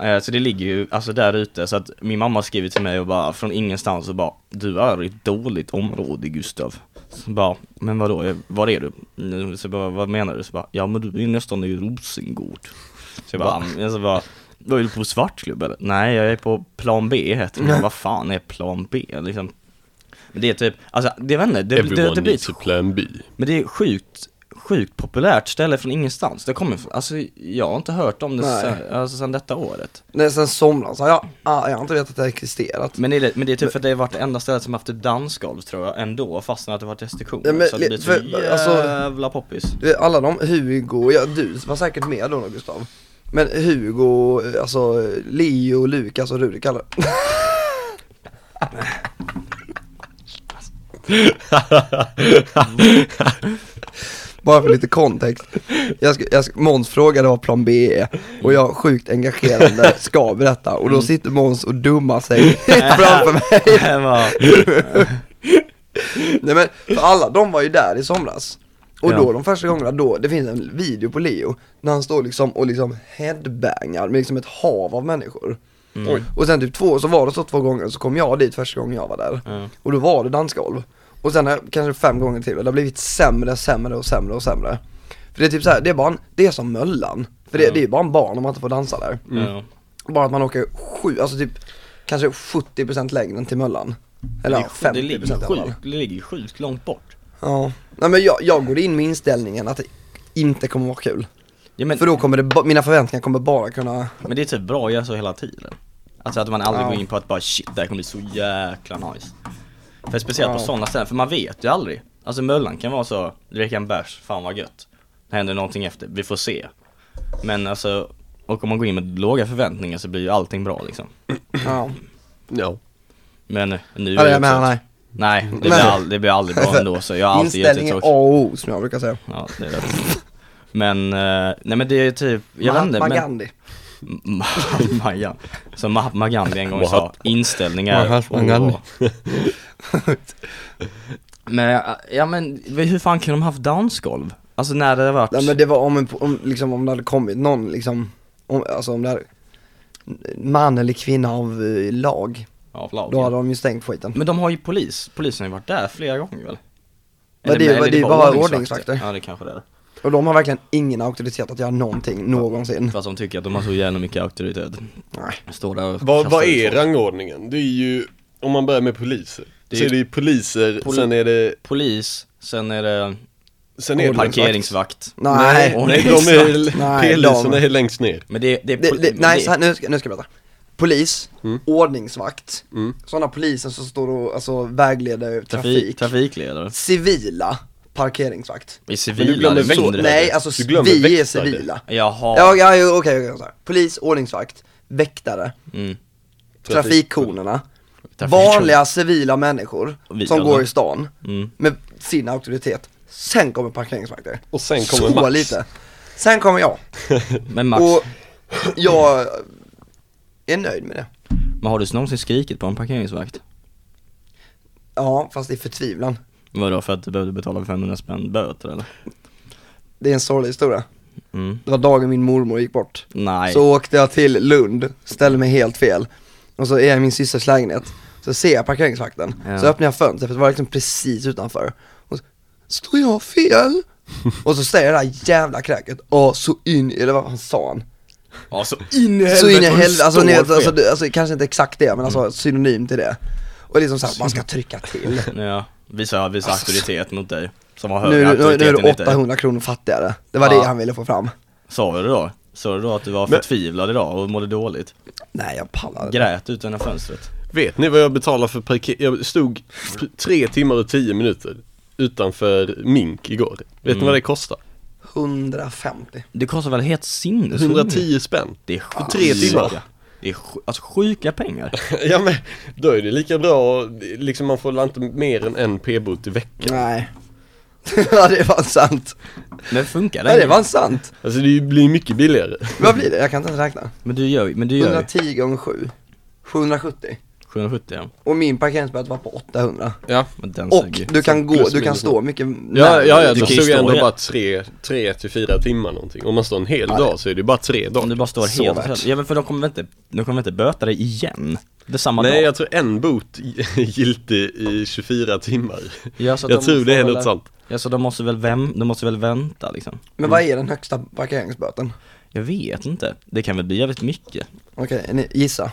Eh, Så det ligger ju, alltså där ute, så att min mamma skriver till mig och bara från ingenstans och bara Du är i ett dåligt område Gustav Så bara, men vadå, eh, var är du? Mm, Så jag bara, vad menar du? Så bara, ja men du är ju nästan i Rosengård Så jag bara, mm, så bara Var är du på svartklubb eller? Nej jag är på plan B heter det, Men vad fan är plan B liksom? Men det är typ, alltså det vet inte, det, det, det,
Everyone
det blir
needs
ett
a plan B.
men det är sjukt, sjukt populärt ställe från ingenstans. Det kommer, från- alltså jag har inte hört om det
Nej.
sen, alltså, sen detta året.
Nej, sen somras har jag, ah, jag har inte vetat att det har existerat.
Men det, är- men det är typ för att det har varit det enda stället som haft typ dansgolv tror jag ändå, fastän att det varit restriktioner.
Ja, men
så att det
li-
blir så
för- alltså-
jävla poppis.
Du vet, Alla de, Hugo, ja, du var säkert med då Gustav. Men Hugo, eh, alltså eh, Leo, Lukas och Rurik alla. [laughs] Bara för lite kontext. Jag ska, jag ska, Måns frågade vad plan B är och jag sjukt engagerande ska berätta och då sitter Måns och dummar sig [laughs]
[laughs]
framför mig.
Det var-
Nej men, för alla de var ju där i somras. Och
Ja.
då de första gångerna då, det finns en video på Leo, när han står liksom och liksom headbangar med liksom ett hav av människor.
Mm.
Oj. Och sen typ två, så var det så två gånger, så kom jag dit första gången jag var där.
Ja.
Och då var det dansgolv. Och sen har- kanske fem gånger till, och det har blivit sämre, sämre och sämre och sämre. För det är typ så här, det är bara en, det är som Möllan. För det, det är ju bara en barn om man inte får dansa där.
ja.
Bara att man åker sju, alltså typ kanske 70% längre än till Möllan. Eller ja, 50%
det ligger, ju
i alla fall.
sjukt, det ligger ju sjukt långt bort.
Ja, nej men jag, jag går in med inställningen att det inte kommer vara kul.
Ja, men,
För då kommer det, ba- mina förväntningar kommer bara kunna,
men det är typ bra att göra så hela tiden. Alltså att man aldrig
Ja.
går in på att bara shit, det här kommer bli så jäkla nice. För speciellt på
Ja.
sådana ställen, för man vet ju aldrig. Alltså Möllan kan vara så, dricka en bärs, fan vad gött. Det händer någonting efter, vi får se. Men alltså, och om man går in med låga förväntningar så blir ju allting bra liksom.
ja.
Ja.
Men nu
Ja,
är
det
det
jag menar,
också-
nej.
Nej, det blir,
Nej.
all, det blir aldrig bra ändå [clears throat] så jag har alltid gett det
Inställningen A
tråkigt.
och O som jag brukar säga.
Ja, det är det. Men, eh, nej men det är typ, jag vet inte
Mahatma
men...
Gandhi.
Mahatma Gandhi. Som Mahatma Gandhi en gång sa,
Mahatma-
inställning är...
Mahatma
Åh.
Gandhi.
men, ja men hur fan kunde de haft dansgolv? Alltså när det har varit...
Nej men det var om, en, om, liksom, om det hade kommit någon liksom, om, alltså om det hade, man eller kvinna av eh, lag,
ja, förlåt.
då hade de ju stängt skiten.
Men de har ju polis, polisen har ju varit där flera gånger väl?
Men det är- det är bara ordningsvakter.
Ja det kanske det är.
Och de har verkligen ingen auktoritet att göra någonting någonsin.
Fast de tycker att de har så jävla mycket auktoritet.
Nej.
Står där och
Vad,
kastar
vad
ut
är
folk.
rangordningen? Det är ju, om man börjar med poliser.
Det är
så
ju-
är det ju poliser,
Poli-
sen är det,
Polis, sen är det
sen är det
parkeringsvakt.
Nej.
Nej.
Nej, de är,
Nej,
poliserna
de-
är längst ner.
Men det, det är...
Det,
poli-
det,
men
nej,
det-
så här, nu, ska, nu ska jag berätta. Polis, ordningsvakt,
Mm.
sådana poliser som står och alltså, vägleder
Trafik,
trafik.
trafikledare.
Civila, parkeringsvakt.
I
Men du
civila,
glömmer
det är
växel.
mindre.
Nej, alltså
Du glömmer
vi är
väktare.
civila.
Jaha.
Ja, ja, jo, okej, okej, så här. Polis, ordningsvakt, väktare,
Mm.
trafikkonerna,
Trafik-
vanliga civila människor
Vi,
som
alltså.
går i stan
Mm.
med sin auktoritet. Sen kommer parkeringsvakter.
Och sen kommer
Så
Max.
lite. Sen kommer jag.
Men Max,
Och jag är nöjd med det.
men har du någonsin skrikit på en parkeringsvakt?
Ja, fast i förtvivlan.
Vadå, för att du behövde betala 500 spänn böter eller?
Det är en sorglig historia.
Mm.
Det var dagen min mormor gick bort.
Nej.
Så åkte jag till Lund, ställde mig helt fel. Och så är jag i min systers lägenhet. Så ser jag parkeringsvakten.
Ja.
Så öppnar jag fönstret, för det var liksom precis utanför. Och så, står
[laughs]
jag fel? och så säger det där jävla kräket, ja så in i, eller vad fan sa han?
Ja, så in i helvete.
Så in i
och du
helvete, alltså,
står
ni
fel.
vet,
Mm.
alltså, det- alltså kanske inte exakt det, men alltså synonym till det. Och liksom såhär, man ska
[laughs]
trycka till.
Ja, visa, visa auktoritet mot dig. Som har
Alltså- Nu,
högre
nu,
auktoritet
nu är
än
du
ditt.
800 kronor fattigare. Det var
Ja.
det han ville få fram.
Sa du då? Sa du då att du var
Men-
förtvivlad idag och mådde dåligt?
Nej jag pallar inte.
Grät ut genom fönstret?
Vet ni vad jag betalade för parkering? Jag stod p- tre timmar och tio minuter utanför Mink igår. Vet
Mm.
ni vad det kostar?
150.
Det kostar väl helt sinnes
110 spänn. [laughs]
Det är sjuka.
För tre timmar.
Det är sj- alltså sjuka
[laughs]
pengar.
ja men då är det lika bra och liksom man får väl inte mer än en p-bot i veckan.
Nej. [laughs] ja det var sant.
Men funkar det?
Nej det var sant.
Alltså det blir mycket billigare.
Vad blir det? Jag kan inte ens räkna.
Men du gör men du gör
110 gånger 7. 770.
770 ja.
Och min parkeringsböter var på 800.
Ja,
Men den
Och
suger.
du kan gå,
Mm, plus
du kan
minus
stå mycket
ja,
närmare.
ja, ja
du
då
kan ju
stod jag
stå
ändå
i-
bara tre, tre till fyra timmar någonting. Om man står en hel dag så är det bara tre dagar.
Om du bara står
Så
helt
värt.
och Ja men för de kommer väl inte, de kommer väl inte böta dig igen? Det är samma
Nej,
dag?
jag tror en bot [laughs] giltig i 24 timmar.
Ja, så att
jag
de
tror det är
får
något
väl-
sånt.
Ja så de måste väl, väm, de måste väl vänta liksom?
Men vad är den högsta parkeringsböten?
Jag vet inte. Det kan väl bli jävligt mycket.
Okej, ni- gissa.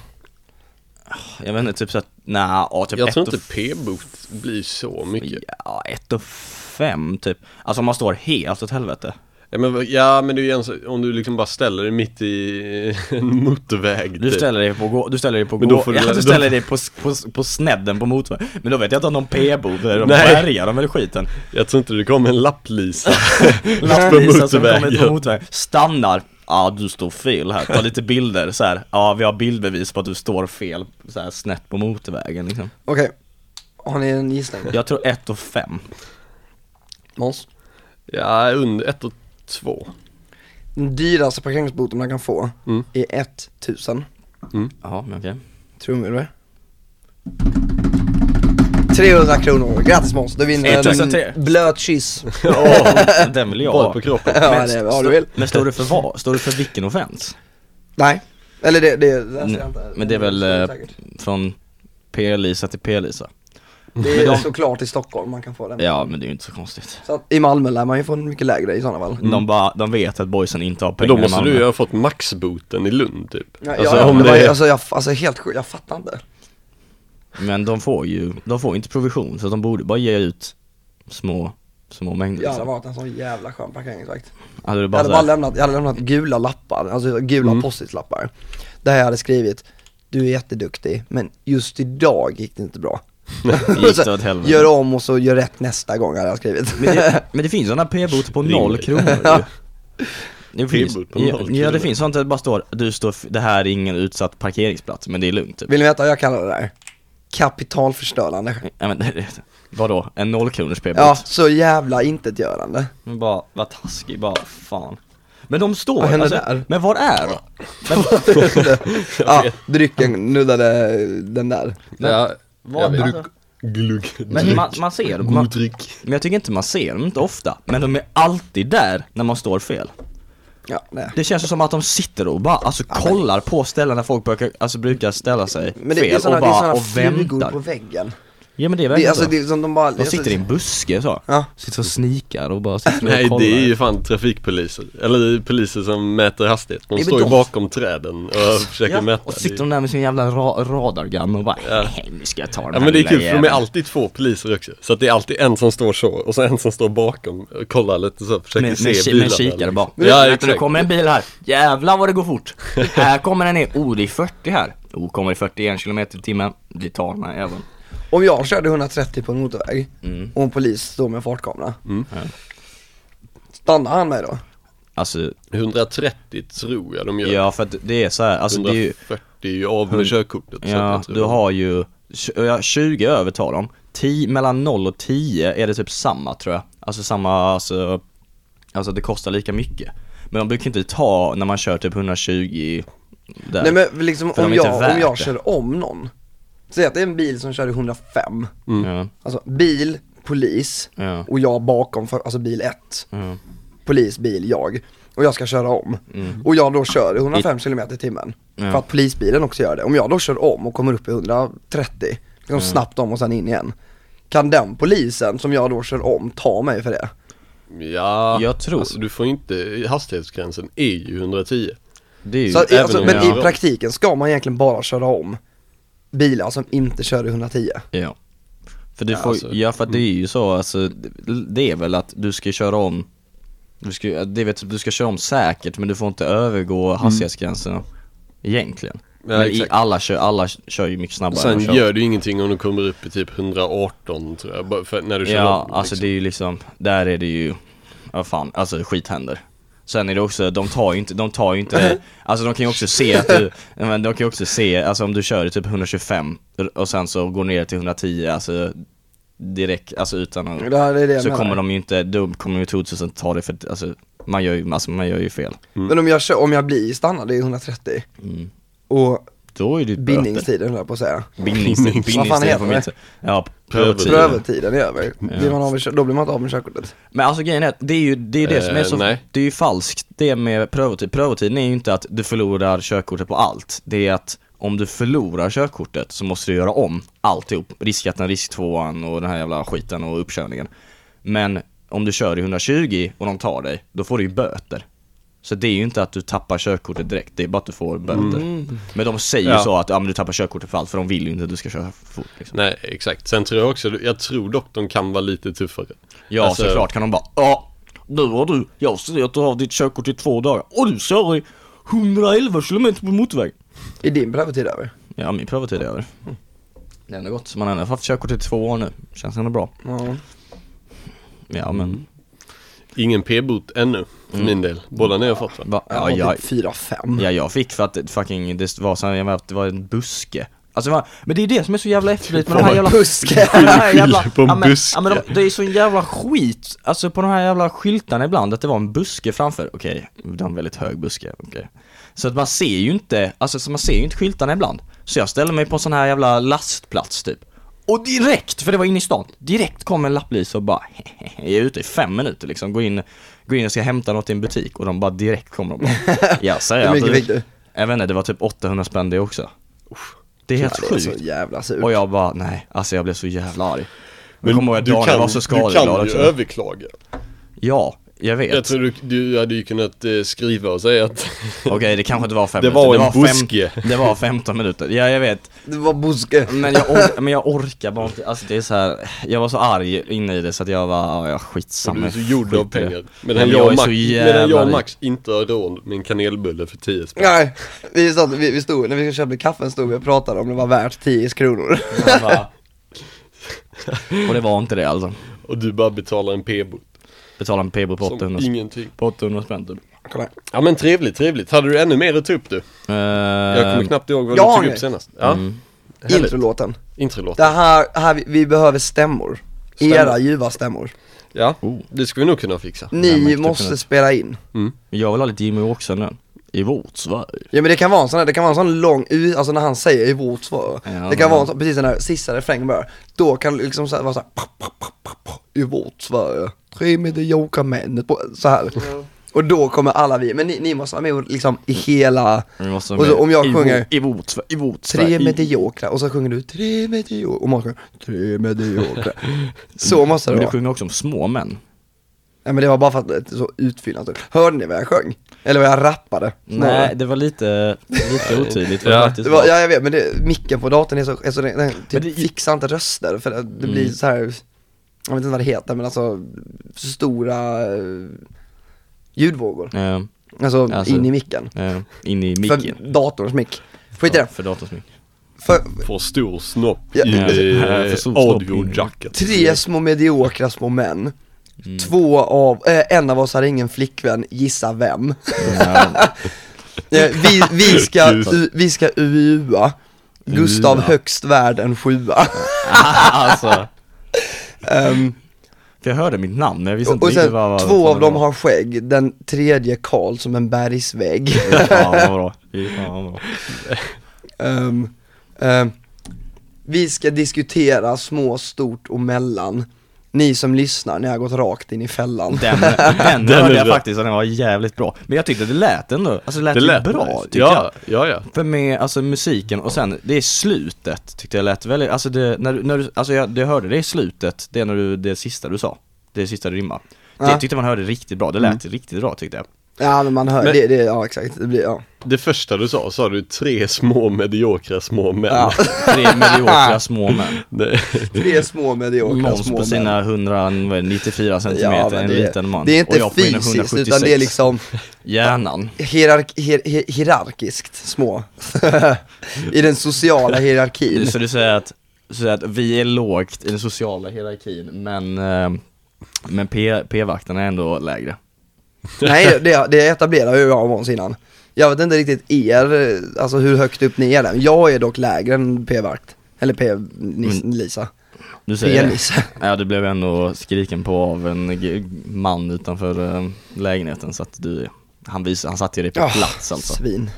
Jag vet inte, typ såhär, nja, ja, typ
Jag
ett
tror
och
inte p-bot blir så mycket.
Ja, ett och fem typ. Alltså om man står helt åt helvete.
Ja, men, vad- ja, men det är ju en så- om du liksom bara ställer dig mitt i [laughs] en motorväg.
Du
typ.
ställer dig på, gå- du ställer dig på,
Men då
gå-
får du-
[laughs] ja,
då-
du ställer dig på, s- på, s- på snedden på motorvägen. Men då vet jag inte om de p-bor, eller de
Nej.
bärgar dem eller skiten.
Jag tror inte det kommer en
[laughs]
lapplisa på
Lastbilar som kommer på
motorvägen.
motorvägen, stannar. Ja, ah, du står fel här. Ta lite bilder så här. Ja, vi har bildbevis på att du står fel, så här snett på motorvägen liksom.
Okej. Har ni en gissning?
Jag tror ett och fem.
Måns?
Ja, under ett och två.
Den dyraste parkeringsboten man kan få
Mm.
är 1000.
Ja, men okej.
Trumvirvel. 300 kronor. Grattis Måns, du vinner
1003.
en
[laughs]
blöt kyss.
Den vill jag
Bara
ha.
på kroppen.
Ja, det är vad du vill.
Men står du för vad? Står du för vilken offens?
Nej. Eller det, det läste jag
Nej,
inte.
Mm. men det är väl, eh,
Säkert.
Från P-Lisa till P-Lisa?
Det är
[laughs] men de-
såklart i Stockholm man kan få den.
Ja, men det är ju inte så konstigt.
Så att i Malmö lär man ju få en mycket lägre i sådana fall.
De, bara, de vet att boysen inte har
Mm. Men
pengar
då
i
måste
Malmö.
du ju ha fått maxboten i Lund typ.
Ja,
alltså
ja,
om
det
det
var, ju-
är...
alltså, jag, alltså helt sjukt, jag fattar inte.
Liksom. Men de får ju, de får inte provision så de borde bara ge ut små, små mängder
Jag hade
liksom.
varit en sån jävla skön parkeringsvakt.
Hade du
Jag
bara, Mm.
hade bara
såhär,
lämnat, jag hade lämnat gula lappar, alltså gula post-it-lappar. Där jag hade skrivit, du är jätteduktig, men just idag gick det inte bra.
[laughs] gick
Så,
det åt helvete?
Gör om och så gör rätt nästa gång hade jag skrivit.
Men det, men det finns sådana p-boter
[laughs]
på
Ring
noll
mig.
kronor ju. Det finns,
P-bot på
ja,
noll
ja
kronor.
det finns sånt där det bara står, du står, f- det här är ingen utsatt parkeringsplats men det är lugnt typ.
[laughs] Vill ni veta vad jag kallar det där? Kapitalförstörande.
Ja, men, [laughs] vadå, en nollkronors p-bot?
Ja, så
[laughs]
jävla intetgörande.
Men bara, vad taskig, bara fan. Men de står, alltså,
Vad hände där?
men var är de?
Ja, drycken nuddade den där.
Ja,
Vad-
jag
alltså-
druk, glugg,
Men man, man ser dem, man,
god dryck.
[laughs] men jag tycker inte man ser dem, inte ofta. Men de är alltid där när man står fel.
Ja, det.
Det känns ju som att de sitter och bara, alltså kollar på ställen där folk brukar, alltså, brukar ställa sig
Men det,
fel
det är sådana,
och
det är
bara
såna
och
flugor
väntar.
på väggen.
Ja men det är
Det, är-
verkligen
alltså
så.
det är som de bara... alltså,
De sitter i en buske så.
Ja.
Sitter och snikar och
[laughs]
bara sitter
Nej
och kollar.
det är ju fan trafikpoliser, eller poliser som mäter hastighet. De
men
står ju
de-
bakom träden och försöker
ja,
mäta.
och sitter de där med sin jävla ra- radargun och bara
Ja.
"Hej, nu ska jag ta den
Ja
här
men det är
lilla
kul för de är
jäveln."
alltid två poliser också. Så att det är alltid en som står så och så en som står bakom och kollar lite så, försöker
med, med,
se
ki-
bilarna.
med kikare
liksom.
bara.
Ja
Vänta, nu
exakt.
kommer en bil här. Jävlar vad det går fort. här kommer den ner. Oh, det är 40 här. Oh, kommer det 41 km i timmen. Det tar den här jäveln.
Om jag körde 130 på en motorväg
Mm.
och en polis står med en fartkamera. Stannar han mig då?
Alltså,
130 tror jag de gör.
ja för att det är så här. Alltså det är ju...
140 är ju av med körkortet. så att
Ja,
jag tror
du
det-
har ju, tj- ja, 20 övertar dem. 10, mellan 0 och 10 är det typ samma tror jag. Alltså samma, alltså, alltså det kostar lika mycket. Men de brukar inte ta när man kör typ 120 där.
Nej men liksom
För de
om
är inte
jag,
värt
om jag
det.
kör om någon. Säg att det är en bil som kör i 105.
ja,
Alltså bil, polis
Ja.
och jag bakom, för, alltså bil 1.
ja.
Polis, bil, jag. Och jag ska köra om.
Mm.
Och jag då kör i 105 km i timmen. För att polisbilen också gör det. Om jag då kör om och kommer upp i 130, liksom snabbt om och sen in igen. Kan den polisen som jag då kör om ta mig för det?
Ja,
Jag tror-
Alltså, du får inte, hastighetsgränsen är ju 110.
Det är ju,
Så, att-
även
alltså,
om
men
jag kör
i
om.
praktiken ska man egentligen bara köra om bilar som inte kör i 110.
ja. För du
Ja,
får,
alltså,
ja för att det är ju så, alltså, det- det är väl att du ska köra om, typ- du
Mm.
ska, det vet, du ska köra om säkert men du får inte övergå hastighetsgränserna. Egentligen.
Ja,
men i
exakt.
alla, kör, alla kör ju mycket snabbare
Sen
än jag kör.
gör det ju ingenting om du kommer upp i typ 118 tror jag, bara för när du kör
Ja,
om,
alltså det är ju liksom, där är det ju, ja fan, alltså skit händer. Sen är det också, de tar ju inte, de tar ju
[laughs]
inte, alltså de kan ju också se att du, ja, men de kan ju också se, alltså om du kör i typ 125 och sen så går ner till 110, alltså direkt, alltså utan att,
Det här är det jag
så
menar.
kommer de ju inte, då kommer ju troligtvis inte ta det för att, alltså man gör ju, alltså man gör ju fel.
Men om jag, kör, om jag blir stannad i 130 och
Då är det ju böter.
bindningstiden höll jag på att säga.
Bindningstid.
Vad fan
Bindningstid
heter
får man
det?
inte. Ja,
Prövotid.
prövotid.
Prövotiden är över, blir man av med, kö- då blir man inte av med körkortet.
Men alltså grejen är att det är ju det, är det som är
Eh,
så,
nej.
det är ju falskt det med prövotid. Prövotiden är ju inte att du förlorar körkortet på allt. Det är att om du förlorar körkortet så måste du göra om alltihop. Riskjakten, risktvåan och den här jävla skiten och uppkörningen. Men om du kör i 120 och de tar dig, då får du ju böter. Så det är ju inte att du tappar körkortet direkt, det är bara att du får böter. Men de säger ju
Mm. Ja.
så att ja, men du tappar körkortet för allt, för de vill ju inte att du ska köra för fort. Liksom.
Nej, exakt. Sen tror jag också, jag tror dock de kan vara lite tuffare.
Ja,
Alltså,
såklart kan de bara Ja, nu har du, jag ser att du har ditt körkort i två dagar och du kör i 111 km på motorväg.
Är din prövotid över?
Ja, min prövotid är över.
Mm.
Det är ändå gott, man har ändå haft körkort i två år nu. Känns ändå bra.
Ja.
Ja,
Mm.
men
Ingen p-bot ännu, för min del. Båda ni har fått va?
Mm. va? Ja,
jag har
jag,
typ 4-5.
ja, jag fick för att det fucking, det var så här, jag vet, det var en buske. Alltså, det var, men det är det som är så jävla efterblivet med de här jävla...
Buske!
de här
Skyller på en
[laughs] ja, men,
buske.
ja, men de, det är sån jävla skit, alltså på de här jävla skyltarna ibland, att det var en buske framför, okej, det var en väldigt hög buske, okej. Så att man ser ju inte, alltså så man ser ju inte skyltarna ibland. Så jag ställer mig på en sån här jävla lastplats typ. Och direkt, för det var inne i stan, direkt kom en lapplis och bara hehehe, jag är ute i fem minuter liksom, går in, går in och ska hämta något i en butik och de bara direkt kommer och
[laughs]
bara, jag säger
Hur mycket
att-
fick du?
Jag vet inte, det var typ 800 spänn det också. Det är helt
det är
sjukt.
så jävla surt.
Och jag bara, nej, alltså jag blev så jävla arg. Men kommer ihåg att Daniel var så
du kan
skadeglad
ju
också.
överklaga.
Ja, jag vet.
Jag tror du, du hade ju kunnat eh, skriva och säga att
Okej, det kanske inte var fem
Det
minuter.
var en
det
buske.
var fem, Det var 15 minuter, ja jag vet.
Det var buske.
Men jag, or- men jag orkar bara inte, alltså det är så här. jag var så arg inne i det så att jag var, ja, ja skitsamma.
du är så gjord av
Skit i det.
pengar.
Nej,
Medan jag, och
är
Max,
så
medan jag och
arg.
Max inte har råd med en kanelbulle för 10 spänn.
Nej, vi, satt, vi, vi stod, när vi köpte kaffen stod vi och pratade om det var värt 10 kronor.
Jag [laughs] bara- Och det var inte det alltså.
Och du bara betalar en p-bot.
Betala en p-bot på
Som
800,
ingenting.
på 800 spänn typ.
[laughs] Kolla här.
Ja men trevligt, trevligt. Hade du ännu mer att ta upp du?
Eh,
Jag kommer knappt ihåg vad
ja,
du tog
nej.
upp senast. Ehm, Ja. Härligt.
Introlåten.
Introlåt.
Det här, här vi, vi behöver stämmor.
Stämmor.
Era ljuva stämmor.
Ja,
Oh.
det ska vi nog kunna fixa.
Nej, men
Ni
definitivt.
måste spela in.
Jag vill ha lite Jimmy Åkesson nu. I vårt Sverige.
Ja men det kan vara en sån här, det kan vara en sån lång, u- alltså när han säger i vårt svar.
Ja,
det
men-
kan vara en sån, precis den där sista refrängen bara. Då kan det liksom så här, vara så här, pop, pop, pop, pop, pop, i vårt Sverige. Tre mediokra män, på- så här. Och då kommer alla vi, men ni, ni måste vara med och liksom i hela,
Vi måste ha
och så,
med-
om jag
i
sjunger
vår- I vårt Sverige. I vårt
tre
Sverige. i-
mediokra och så sjunger du tre mediokra och man sjunger tre mediokra.
[laughs]
så måste det
Men du
vara.
sjunger också om små män.
Ja, men det var bara för att det är så utfyllnad. typ. Hörde ni vad jag sjöng? Eller vad jag rappade?
Nej, det var lite, lite otydligt vad
Ja.
det faktiskt
Det var,
var.
ja jag vet, men det, micken på datorn är så, alltså den, den typ
Men det- Mm.
fixar inte röster för att det blir så här. jag vet inte vad det heter men alltså stora eh, ljudvågor,
Eh,
alltså,
Alltså,
in i micken,
eh, in i micken.
för datorns mick Skit i det,
För datorns mick.
för
För stor snopp
Ja.
i
Ja,
eh,
för stor snopp i-
[laughs]
audiojacket.
tre små mediokra små män
Mm.
Två av, eh, en av oss hade ingen flickvän, gissa vem?
[laughs] Ja,
Eh, vi,
[laughs]
vi ska,
Gud.
u, vi ska UUA, Gustav
UUA.
högst värd en sjua
alltså.
Ehm,
För jag hörde mitt namn men jag visste
Och,
inte
och
riktigt
sen,
vad vad-
två
vad
av
det
dem
var.
har skägg, den tredje Karl som
[laughs]
en bergsvägg
Fy Fan vad bra. Fy fan vad bra.
Ehm, ehm, Vi ska diskutera små, stort och mellan Ni som lyssnar, ni har gått rakt in i fällan
Den,
[laughs]
den,
Den
hörde
är
jag
bra.
faktiskt och den var jävligt bra. Men jag tyckte det lät ändå, alltså det lät,
Det lät
bra
nice.
tyckte jag.
Ja, ja, ja.
För med, alltså musiken och sen det är slutet tyckte jag lät väldigt, alltså det, när, du- när du, alltså jag, det hörde det i slutet, det är när du, det sista du sa, det sista du rimmade. Det
Ja. Mm.
tyckte man hörde riktigt bra, det lät riktigt bra tyckte jag.
Ja men man hör,
Men-
Det, det, ja exakt, det blir, ja.
Det första du sa, sa du tre små mediokra små män.
ja. [laughs]
Tre mediokra små män.
[laughs] Det,
Tre små mediokra
Måns
små
på
män.
sina 194 centimeter,
men
en
det,
liten man.
Det är
Och
inte
jag på mina
fysiskt utan det
176.
är liksom
Hjärnan.
hierark, hier, hier, hierarkiskt små. [laughs] I den sociala hierarkin.
Så du säger att, så säger att vi är lågt i den sociala hierarkin, men, eh, men P- P-vakterna är ändå lägre.
Nej, det, det etablerade ju jag och Måns innan. Jag vet inte riktigt er, eh, alltså hur högt upp ni är där. Jag är dock lägre än P-vakt. Eller
Mm.
P-Lisa.
Du säger det.
P-Nisse.
[laughs] Ja, du blev ändå skriken på av en g- man utanför eh, lägenheten så att du, han, vis, han satte ju dig på
Ja,
plats alltså.
Svin.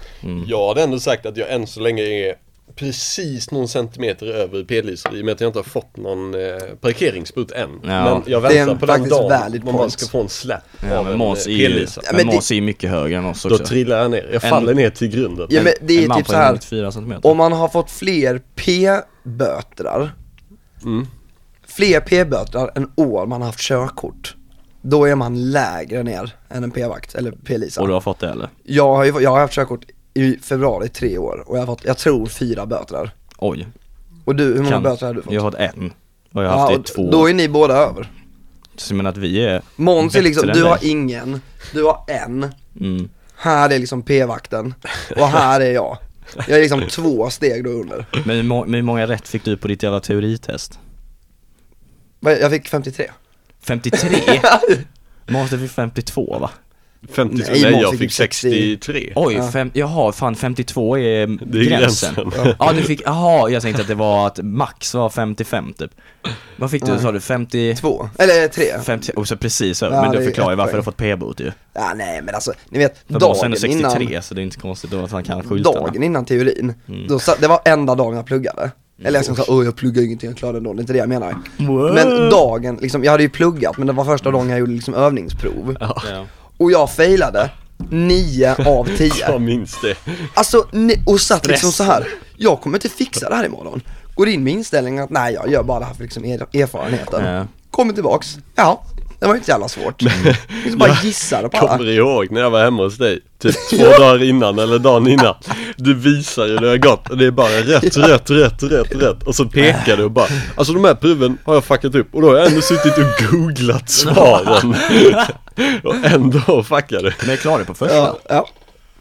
jag hade ändå sagt att jag än så länge är precis någon centimeter över p-lisor i och med att jag inte har fått någon eh, parkeringsbot än.
Ja.
Men jag
Det är en
väntar på den
faktiskt
dagen
valid
när man
point.
ska få en släpp
Ja,
av
men
en
Måns är
eh,
ju
p-lisa.
men
men
Måns är ju mycket högre än oss
Då
också.
trillar jag ner, jag
En-
faller ner till grunden.
Ja men det
en
är
man
typ
på
så här
194 centimeter.
om man har fått fler P-bötrar,
Mm.
fler P-bötrar än år man har haft körkort, då är man lägre ner än en P-vakt, eller P-Lisa.
Och du har fått det eller?
Jag har ju jag har haft körkort i februari tre år och jag har fått, jag tror fyra bötrar.
Oj.
Och du, hur många
Kan-
bötrar har du fått?
Jag har fått en. Och jag har haft
Ja,
det i
och
två
Då är ni båda över.
Så jag menar att vi är
Måns är
bättre
liksom,
än
du
dig.
har ingen, du har en,
mm.
här är liksom P-vakten och här är jag. Jag är liksom två steg då under.
Men hur, må- men hur många rätt fick du på ditt jävla teoritest?
Vad- Jag fick 53.
53?
[laughs]
Måns du fick 52 va?
50,
Nej,
nej,
Måns
jag
fick
fick
60.
63.
Oj, fem, jaha fan 52 är
Det är
gränsen.
gränsen.
Ja du fick, jaha jag tänkte att det var att max var 55 typ. Vad fick du, sa du 50?
Två, eller tre.
50, och så precis så,
Ja,
men
det
du
är
förklarar ju
ett
varför du har
poäng.
fått p-bot ju.
Ja, nej men alltså, ni vet,
För Måns är ändå
dagen
63
innan,
så det är inte konstigt då att han kan skyltarna.
dagen innan teorin,
Mm.
då satt, det var enda dagen jag pluggade. Eller jag ska säga, åh jag pluggar ingenting, jag klarar det ändå, det är inte det jag menar.
Wow.
Men dagen, liksom, jag hade ju pluggat men det var första dagen jag gjorde liksom övningsprov.
Ja.
Och jag failade 9 av 10.
Jag minns det.
Alltså, ne- och satt liksom så här. jag kommer inte fixa det här imorgon. Går in med inställningen att nej, jag gör bara det här för liksom er- erfarenheten.
Ja.
Kommer tillbaks, ja, det var ju inte så
[laughs]
jävla svårt. Liksom bara gissade på alla.
Kommer ihåg när jag var hemma hos dig,
[laughs]
typ två dagar innan eller dagen innan. Du visar hur det har gått och det är bara rött, rött, rött, rött, rött. Och så pekar du och bara, alltså de här proven har jag fuckat upp och då har jag ändå suttit och googlat svaren. [laughs] Och ändå fuckar du.
Men jag klarade det på första.
Ja, ja.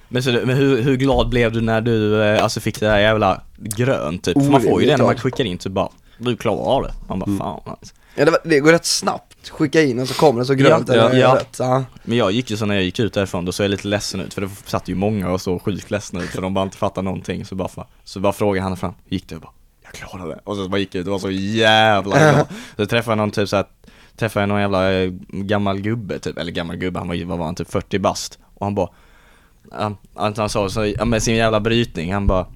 Men, så, men hur, hur glad blev du när du eh, alltså fick det där jävla grönt typ? För man får ju
Orimligt
det när man
glad.
skickar in typ bara Du klarar det. Man
Mm.
bara fan alltså.
ja det, var, det går rätt snabbt, skicka in och så kommer det så grönt
Ja,
eller
ja, ja.
rött. Ja.
Men jag gick ju så när jag gick ut därifrån, då såg jag lite ledsen ut för det satt ju många och såg sjukt ledsna ut för de bara inte fattade någonting så bara, fan. så bara frågade han fram, hur gick det? Jag bara, jag klarade det. Och så bara gick jag ut och var så jävla glad. Så träffade jag någon typ såhär, träffade jag någon jävla eh, gammal gubbe typ, eller gammal gubbe, han var ju, vad var han, typ 40 bast. Och han bara, han, han, han sa så, ja, med sin jävla brytning, han bara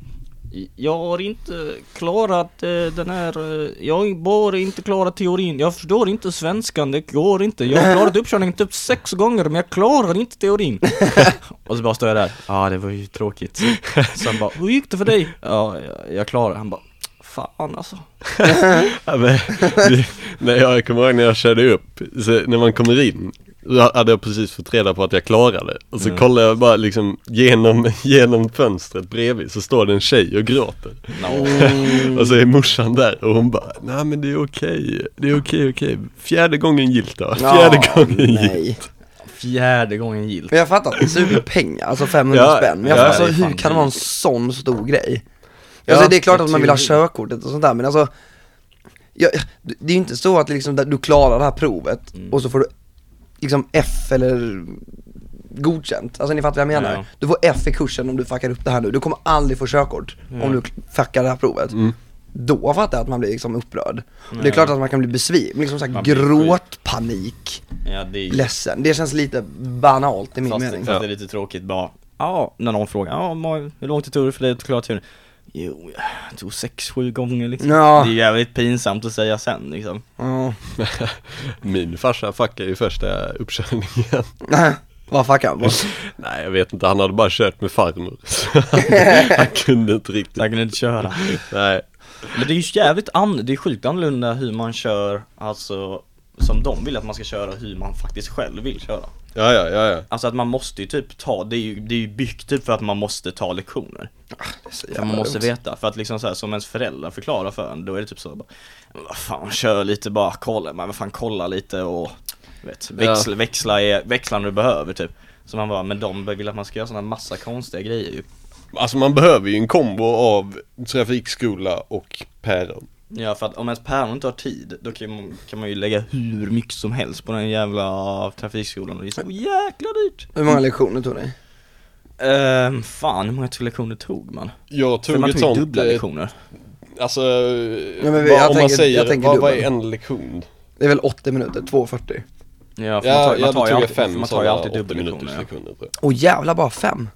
jag har inte klarat eh, den här, eh, jag har bara inte klarat teorin. Jag förstår inte svenskan, det går inte. Jag har klarat uppkörningen typ sex gånger men jag klarar inte teorin. [laughs] och så bara står jag där, ja ah, det var ju tråkigt. [laughs] Så han bara, hur gick det för dig? Ja, jag, jag klarade det. Han bara, fan alltså.
Ja, men, det, när jag kommer ihåg när jag körde upp, så när man kommer in, då hade jag precis fått reda på att jag klarade det. Och så kollade jag bara liksom genom, genom fönstret bredvid så står det en tjej och gråter. och så är morsan där och hon bara, nej men det är okej, det är okej, okej. Fjärde gången gillt då, fjärde
Ja,
gången gillt.
nej.
Fjärde gången gillt.
Men jag fattar att det suger pengar, alltså 500
Ja,
spänn. Men jag
ja,
fattar,
det är
alltså,
fan
hur kan det vara en sån stor grej?
Ja,
Alltså det är klart
det
att man vill ha
tror
körkortet och sånt där, men alltså jag, Det är ju inte så att liksom, du klarar det här provet
Mm.
och så får du liksom F eller godkänt. Alltså ni fattar vad jag menar.
Ja.
Du får F i kursen om du fuckar upp det här nu. Du kommer aldrig få körkort om du fuckar det här provet. Då fattar jag att man blir liksom upprörd. Och det är klart att man kan bli besviken, liksom såhär
Man blir sjuk.
gråtpanik,
Ja, det är
ledsen. Det känns lite banalt i min
Fast,
mening.
fast det är lite tråkigt bara, ja, när någon frågar, ja, Ma- hur långt tog det för dig att klara teorin? Jo, jag tog sex, sju gånger liksom.
Ja.
Det är jävligt pinsamt att säga sen liksom.
Ja.
[laughs] Min farsa fuckade ju första uppkörningen. [laughs]
Vad fuckar han på?
Nej jag vet inte, han hade bara kört med farmor. [laughs] Så han, han kunde inte riktigt.
Jag kunde inte köra.
Nej.
Men det är ju jävligt an- det är sjukt annorlunda hur man kör, alltså som de vill att man ska köra och hur man faktiskt själv vill köra.
Ja, ja, ja, ja.
Alltså att man måste ju typ ta, det är ju, det är ju byggt typ för att man måste ta lektioner. För man måste veta, för att liksom så här, som ens föräldrar förklarar för en, då är det typ så bara, "Men vad fan kör lite bara, kolla, men vad fan kolla lite och vet, växla, växla, är, växla när du behöver typ. Så man bara, men de vill att man ska göra sådana massa konstiga grejer ju.
Alltså man behöver ju en kombo av trafikskola och päron.
Ja för att om ens päron inte har tid, då kan man, kan man ju lägga hur mycket som helst på den jävla trafikskolan och det är så jäkla dyrt.
Hur många lektioner tog ni?
Ehm, fan hur många lektioner tog man?
Jag
För
tog
man
ett
tog ju
sånt,
dubbla
eh,
lektioner.
alltså
Ja, men vi-
vad,
jag
om man
tänker-
säger,
jag tänker
vad, vad är
dubbel.
en lektion?
Det är väl 80 minuter, 2.40.
Ja, för man
Ja,
tar, man
jag
tar
tog
ju
jag
alltid,
fem
man tar ju
sådana
alltid
80
dubbellektioner.
minuters
ja.
lektioner tror jag.
Åh jävlar, bara fem?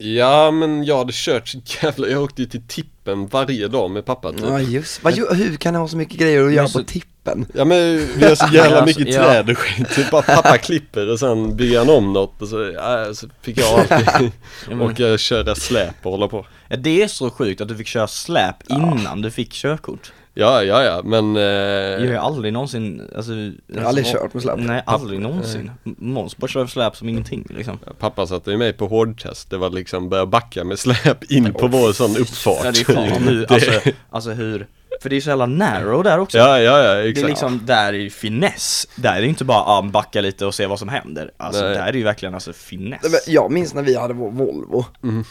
Ja men jag hade kört så jävla, jag åkte ju till tippen varje dag med pappa typ.
Ja just Vad ju- Hur kan det ha så mycket grejer att göra
så-
på tippen?
Ja men vi har så jävla
[laughs] Ja,
mycket
alltså, ja.
träd och skit, typ bara pappa klipper och sen bygger han om något och så, ja, så fick jag
[laughs]
alltid
men-
åka och köra släp och hålla på
Ja, det är så sjukt att du fick köra släp innan du fick körkort.
Ja, ja, ja, men
Jag har ju
eh,
aldrig någonsin, alltså, Jag
aldrig kört med släp.
Nej, aldrig
Eh.
någonsin. M- Måns bara kör släp som ingenting liksom.
pappa satte ju mig på hårdtest. Det var liksom börja backa med släp in på vår sån uppfart.
Ja, det
[laughs]
är sjukt hur, alltså, alltså hur, för det är så jävla narrow där också.
ja, ja, ja,
Det är
exakt.
liksom, där är ju finess. Där är det inte bara, ah, backa lite och se vad som händer. Alltså
Nej.
där är det ju verkligen alltså finess.
Nej, men Jag minns när vi hade vår Volvo.
Mm.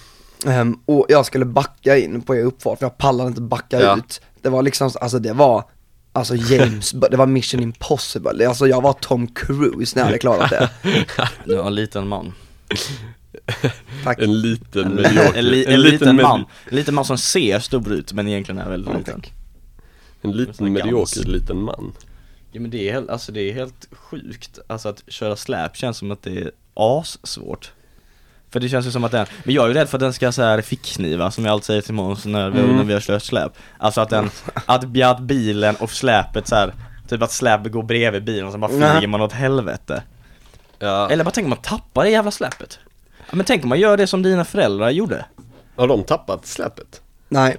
Ehm, och jag skulle backa in på er uppfart för jag pallade inte backa
Ja.
ut. Det var liksom, så- alltså det var, alltså James, [laughs] Bond, det var mission impossible. Alltså jag var Tom Cruise när jag hade klarat det.
[laughs] Du var en liten man.
Tack.
En liten
En,
medioker,
li, en, liten
med-
man. En liten man som ser stor ut men egentligen är väldigt liten.
En liten
Sån gans.
medioker liten man.
Ja men det är, helt- alltså, det är helt sjukt, alltså att köra släp känns som att det är assvårt För det känns ju som att den, men jag är ju rädd för att den ska så här fickkniva som jag alltid säger till Måns när, vi- när vi har kört släp Alltså att den, att, ja, att bilen och släpet så här typ att släpet går bredvid bilen och så bara
Nej.
flyger man åt helvete
Ja.
Eller bara tänk om man tappar det jävla släpet ja, Men tänk om man gör det som dina föräldrar gjorde
Har de tappat släpet?
Nej,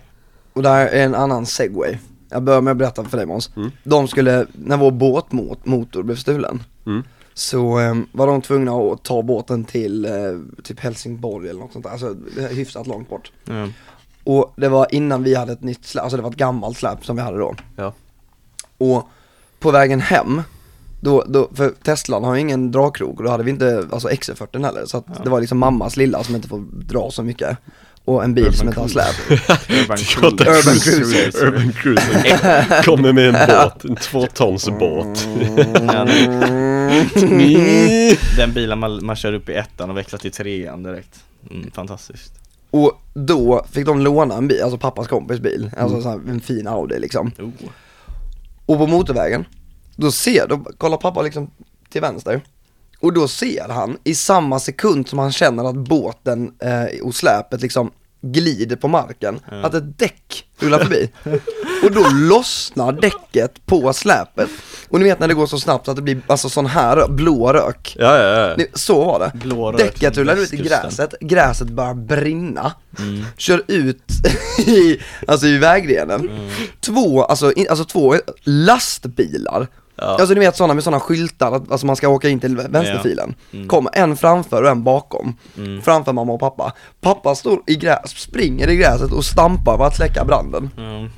och där är en annan segway. Jag börjar med att berätta för dig Måns. De skulle, när vår båtmotor blev stulen, så eh, var de tvungna att ta båten till eh, typ Helsingborg eller något sånt där, alltså hyfsat långt bort.
mm.
Och det var innan vi hade ett nytt släp, alltså det var ett gammalt släp som vi hade då.
Ja
Och på vägen hem, då, då, för Teslan har ju ingen dragkrok och då hade vi inte, alltså XC40 heller, så att det var liksom mammas lilla som inte får dra så mycket. Och en bil som inte har släp.
[laughs] Urban
Urban
Cruiser.
Urban
[laughs]
Cruiser. Kommer med en båt, en
Mm.
tvåtonsbåt.
[laughs] Den bilen man, man kör upp i ettan och växlar till trean direkt. Mm, fantastiskt.
Och då fick de låna en bil, alltså pappas kompis bil, alltså så här, en fin Audi liksom.
Oh.
Och på motorvägen, då ser, då kollar pappa liksom till vänster. Och då ser han i samma sekund som han känner att båten eh, och släpet liksom glider på marken, att ett däck rullar förbi. och då lossnar däcket på släpet. Och ni vet när det går så snabbt att det blir alltså sån här rö- blå rök.
Ja, ja, ja.
Ni- Så var det.
Blå rök
Däcket
från
rullar ut i
västkusten.
gräset, gräset börjar brinna, kör ut [laughs] i, alltså i vägrenen. Två, alltså, in, alltså två lastbilar, alltså ni vet sådana med sådana skyltar, att alltså, man ska åka in till vänsterfilen. Kommer en framför och en bakom, framför mamma och pappa. Pappa står i gräs, springer i gräset och stampar för att släcka branden.
Mm.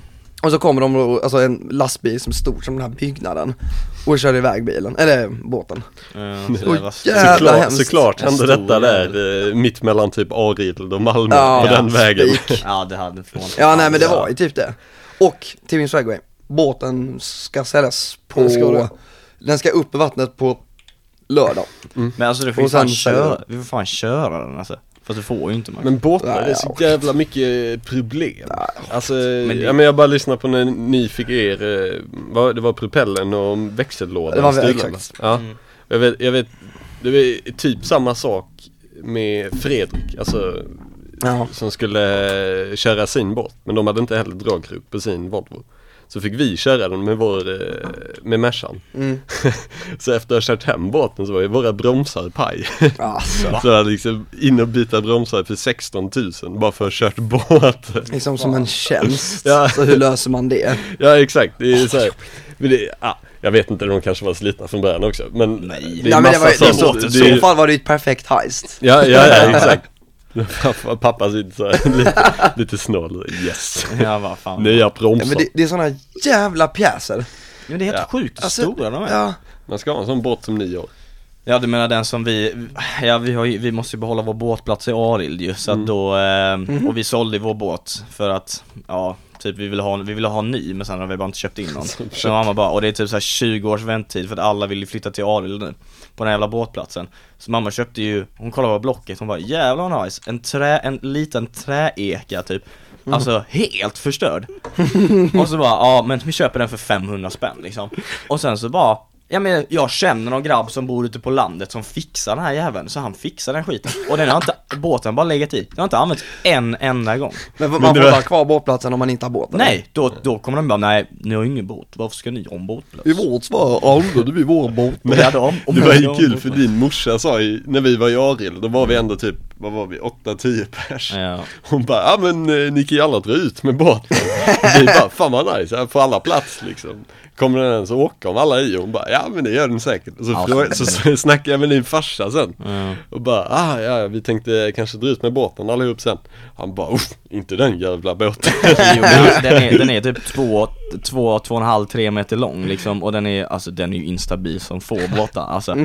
Och så kommer de, då, alltså en lastbil som är stor som den här byggnaden och kör iväg bilen, eller båten.
Mm, så
Oj,
det var-
jävlar. Jävla
Såklart,
hemskt.
såklart hände
Stor
detta där eh, mitt mellan typ Arild och Malmö på den vägen.
spik.
Ja det hade från.
Ja nej men det var ju typ det. Och till min segway, båten ska säljas på, Den ska det. den ska upp i vattnet på lördag.
Men alltså du får ju
Och sen
fan
så-
köra, vi får fan köra den alltså. Fast du får ju inte Max.
Men båtar,
Nej,
det är så jävla mycket eh, problem. Alltså,
det-
ja, men jag bara lyssnade på när ni fick er, eh, vad, det var propellen och växellådan
Det var väl-
stulen,
exakt.
va? Ja. Jag, vet, jag vet, det var typ samma sak med Fredrik, alltså
Ja.
som skulle eh, köra sin båt, men de hade inte heller dragkrok på sin Volvo. Så fick vi köra den med vår, eh, med Mercan.
Mm.
[laughs] så efter att ha kört hem båten så var ju våra bromsar paj. [laughs]
Alltså,
Så jag liksom in och byta bromsar för 16 000 bara för att ha kört [laughs] båt.
liksom som en tjänst,
Ja.
så hur löser man det?
Ja exakt, det är så här. Men det, ah, jag vet inte, de kanske var slitna från början också. Men Nej, det är
Nej, men
massa
det var, ju- det
sånt.
så,
Det är-
I så fall var det ju ett perfekt heist
Ja, ja,
[laughs]
ja, exakt. Pappa, pappa sitter så här, [laughs] lite, lite snål. Yes.
Ja vad fan.
Nya
ja,
bromsar.
men det, det är såna jävla pjäser
Men det är helt sjukt
Alltså,
stora de är.
Ja,
Man ska ha en sån båt som ni har.
Ja du menar den som vi, ja vi, har ju, vi måste ju behålla vår båtplats i Arild ju så att då, eh, och vi sålde vår båt för att, ja typ vi ville ha, vi ville ha en ny men sen har vi bara inte köpt in någon Så mamma bara, och det är typ så här 20 års väntetid för att alla vill ju flytta till Arild nu På den här jävla båtplatsen Så mamma köpte ju, hon kollade på blocket, hon bara jävlar vad nice, en trä, en liten träeka typ Alltså helt förstörd och så bara, ja men vi köper den för 500 spänn liksom. Och sen så bara, ja men jag känner någon grabb som bor ute på landet som fixar den här jäveln, så han fixar den skiten. Och den har inte, båten bara legat i, den har inte använts en enda gång.
men man
Men det
får
var-
ta kvar båtplatsen om man inte har båten
Nej, då, då kommer de bara, nej ni har ingen båt, varför ska ni ha en båtplats?
vårt svar använder vi vår båt
Och vi hade om- om
det var
vi
ju
hade
kul
om-
för din morsa sa ju, när vi var i Arild, då var vi ändå typ, vad var vi, 8-10 pers.
Ja.
Hon bara, ja men eh, ni kan ju alla dra ut med båten. vi bara, fan vad nice, här får alla plats liksom. Kommer den ens åka om alla är i? Hon bara, ja men det gör den säkert. Och så,
Ja,
fråga, så, så snackade jag med din farsa sen. Och bara, ah, ja ja, vi tänkte kanske dra ut med båten allihop sen. Han bara, "Uff, inte den jävla båten.
[laughs] Jo, men alltså, den, är, den är typ två, två, två och en halv, tre meter lång liksom och den är, alltså den är ju instabil som få båtar alltså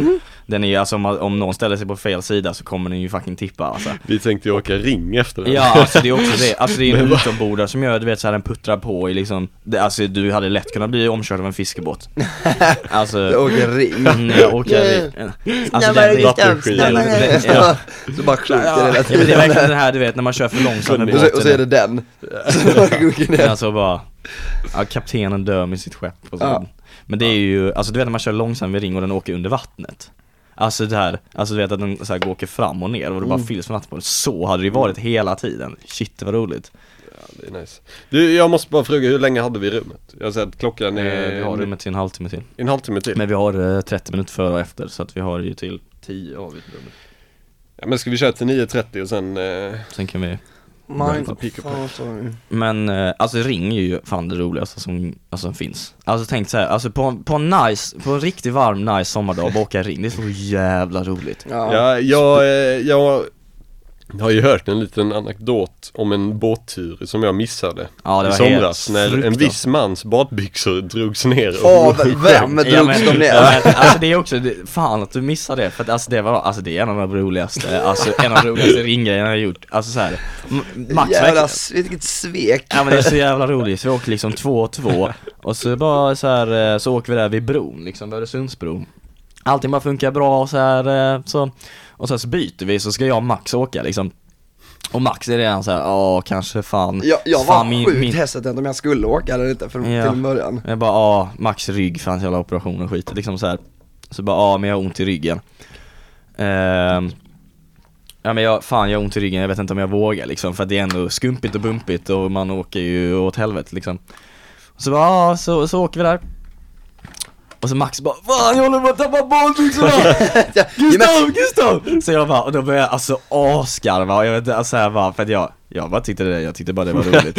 Den är ju, alltså om, man- om någon ställer sig på fel sida så kommer den ju fucking tippa alltså
vi tänkte ju åka ring efter den.
Ja, alltså det är också det. Alltså
[laughs]
det är en utombordare som gör, du vet såhär den puttrar på i liksom det, Alltså du hade lätt kunnat bli omkörd av en
[laughs]
fiskebåt
Jag
Alltså,
åker ring
nej jag åker Alltså den,
det-
är-
vattenskidor.
den, den,
[laughs]
ja.
Så bara skjuter det hela
Ja, men det är
tiden
verkligen det här du vet när man kör för långsamt med
och så, och så är det
båten
den [laughs] Så bara sjunker ner.
Men Alltså bara, ja, kaptenen dör med sitt skepp och så.
Ja.
Men det är ju, alltså du vet när man kör långsamt med ring och den åker under vattnet Alltså det här, alltså du vet att den så här, går- åker fram och ner och det bara
Mm.
fylls med vatten på den. Så hade det ju varit hela tiden, shit vad roligt
Det är nice. Du, jag måste bara fråga, hur länge hade vi rummet? Jag har sett klockan är...
Eh, Vi har rummet till en halvtimme till.
En halvtimme till.
Men vi har eh, 30 minuter före och efter så att vi har ju till 10 har vi ett nummer.
Ja, men ska vi köra till 9.30 och sen... Eh,
Sen kan vi
Man,
Pick up.
fan, sorry.
Men eh, alltså ring är ju fan det roligaste som alltså, finns Alltså tänk så här, alltså på, en- på en nice, på en riktigt varm nice sommardag bara åka ring, det är så jävla roligt
Ja.
ja, jag, eh, jag har ju hört en liten anekdot om en båttur som jag missade
Ja, det
i
var
somras
helt
när en
fruktansvärt.
viss mans badbyxor drogs ner. [laughs]
Åh, v- vem
Ja,
drogs
men-
de ner?
ja, men, alltså det är också, det, fan att du missar det för att alltså det var, alltså det är en av de roligaste, alltså en av de roligaste ringgrejerna jag har gjort Alltså såhär, Max
Jävla,
verkligen-
s- vilket svek!
[laughs] Ja men det är så jävla roligt, så vi åker liksom två och två Och så bara så här, eh, så åker vi där vid bron liksom, vid Öresundsbron Allting bara funkar bra och så här, eh, så Och sen så byter vi, så ska jag och Max åka liksom Och Max är redan så här, ja kanske fan
Jag, jag var
fan,
sjukt hesitant om jag skulle åka eller inte från
Ja.
till en början
Jag bara, ja Max rygg för hans jävla operation och skit liksom så här. Så bara, ja men jag har ont i ryggen Ehm, Ja men jag, fan jag har ont i ryggen, jag vet inte om jag vågar liksom för att det är ändå skumpigt och bumpigt och man åker ju åt helvete liksom Så bara, ja så, så åker vi där och så Max bara 'Fan jag håller på att tappa badbyxorna! Gustav, Gustav!' Så jag bara, och då började jag alltså asgarva och jag vet inte, alltså jag bara, för att jag, jag bara tyckte det, jag tyckte bara det var roligt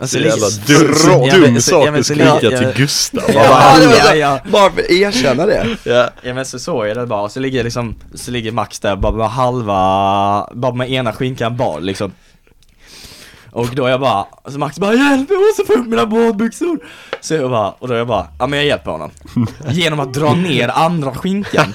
Alltså,
Så jävla
liksom-
dum,
så- ja, men-
dum
så-
sak
ja, men
att
så-
skrika
ja,
till
ja.
Gustav.
Ja,
Ja, det var
ja,
så-
ja.
Bara för att erkänna det
Ja.
Ja men så såg jag det bara, och så ligger liksom, så ligger Max där bara med halva, bara med ena skinkan bar liksom Och då jag bara, så Max bara 'Hjälp, jag måste få upp mina badbyxor' Så jag bara, och då jag bara, ja men jag
[laughs]
hjälper honom Genom att dra ner andra skinkan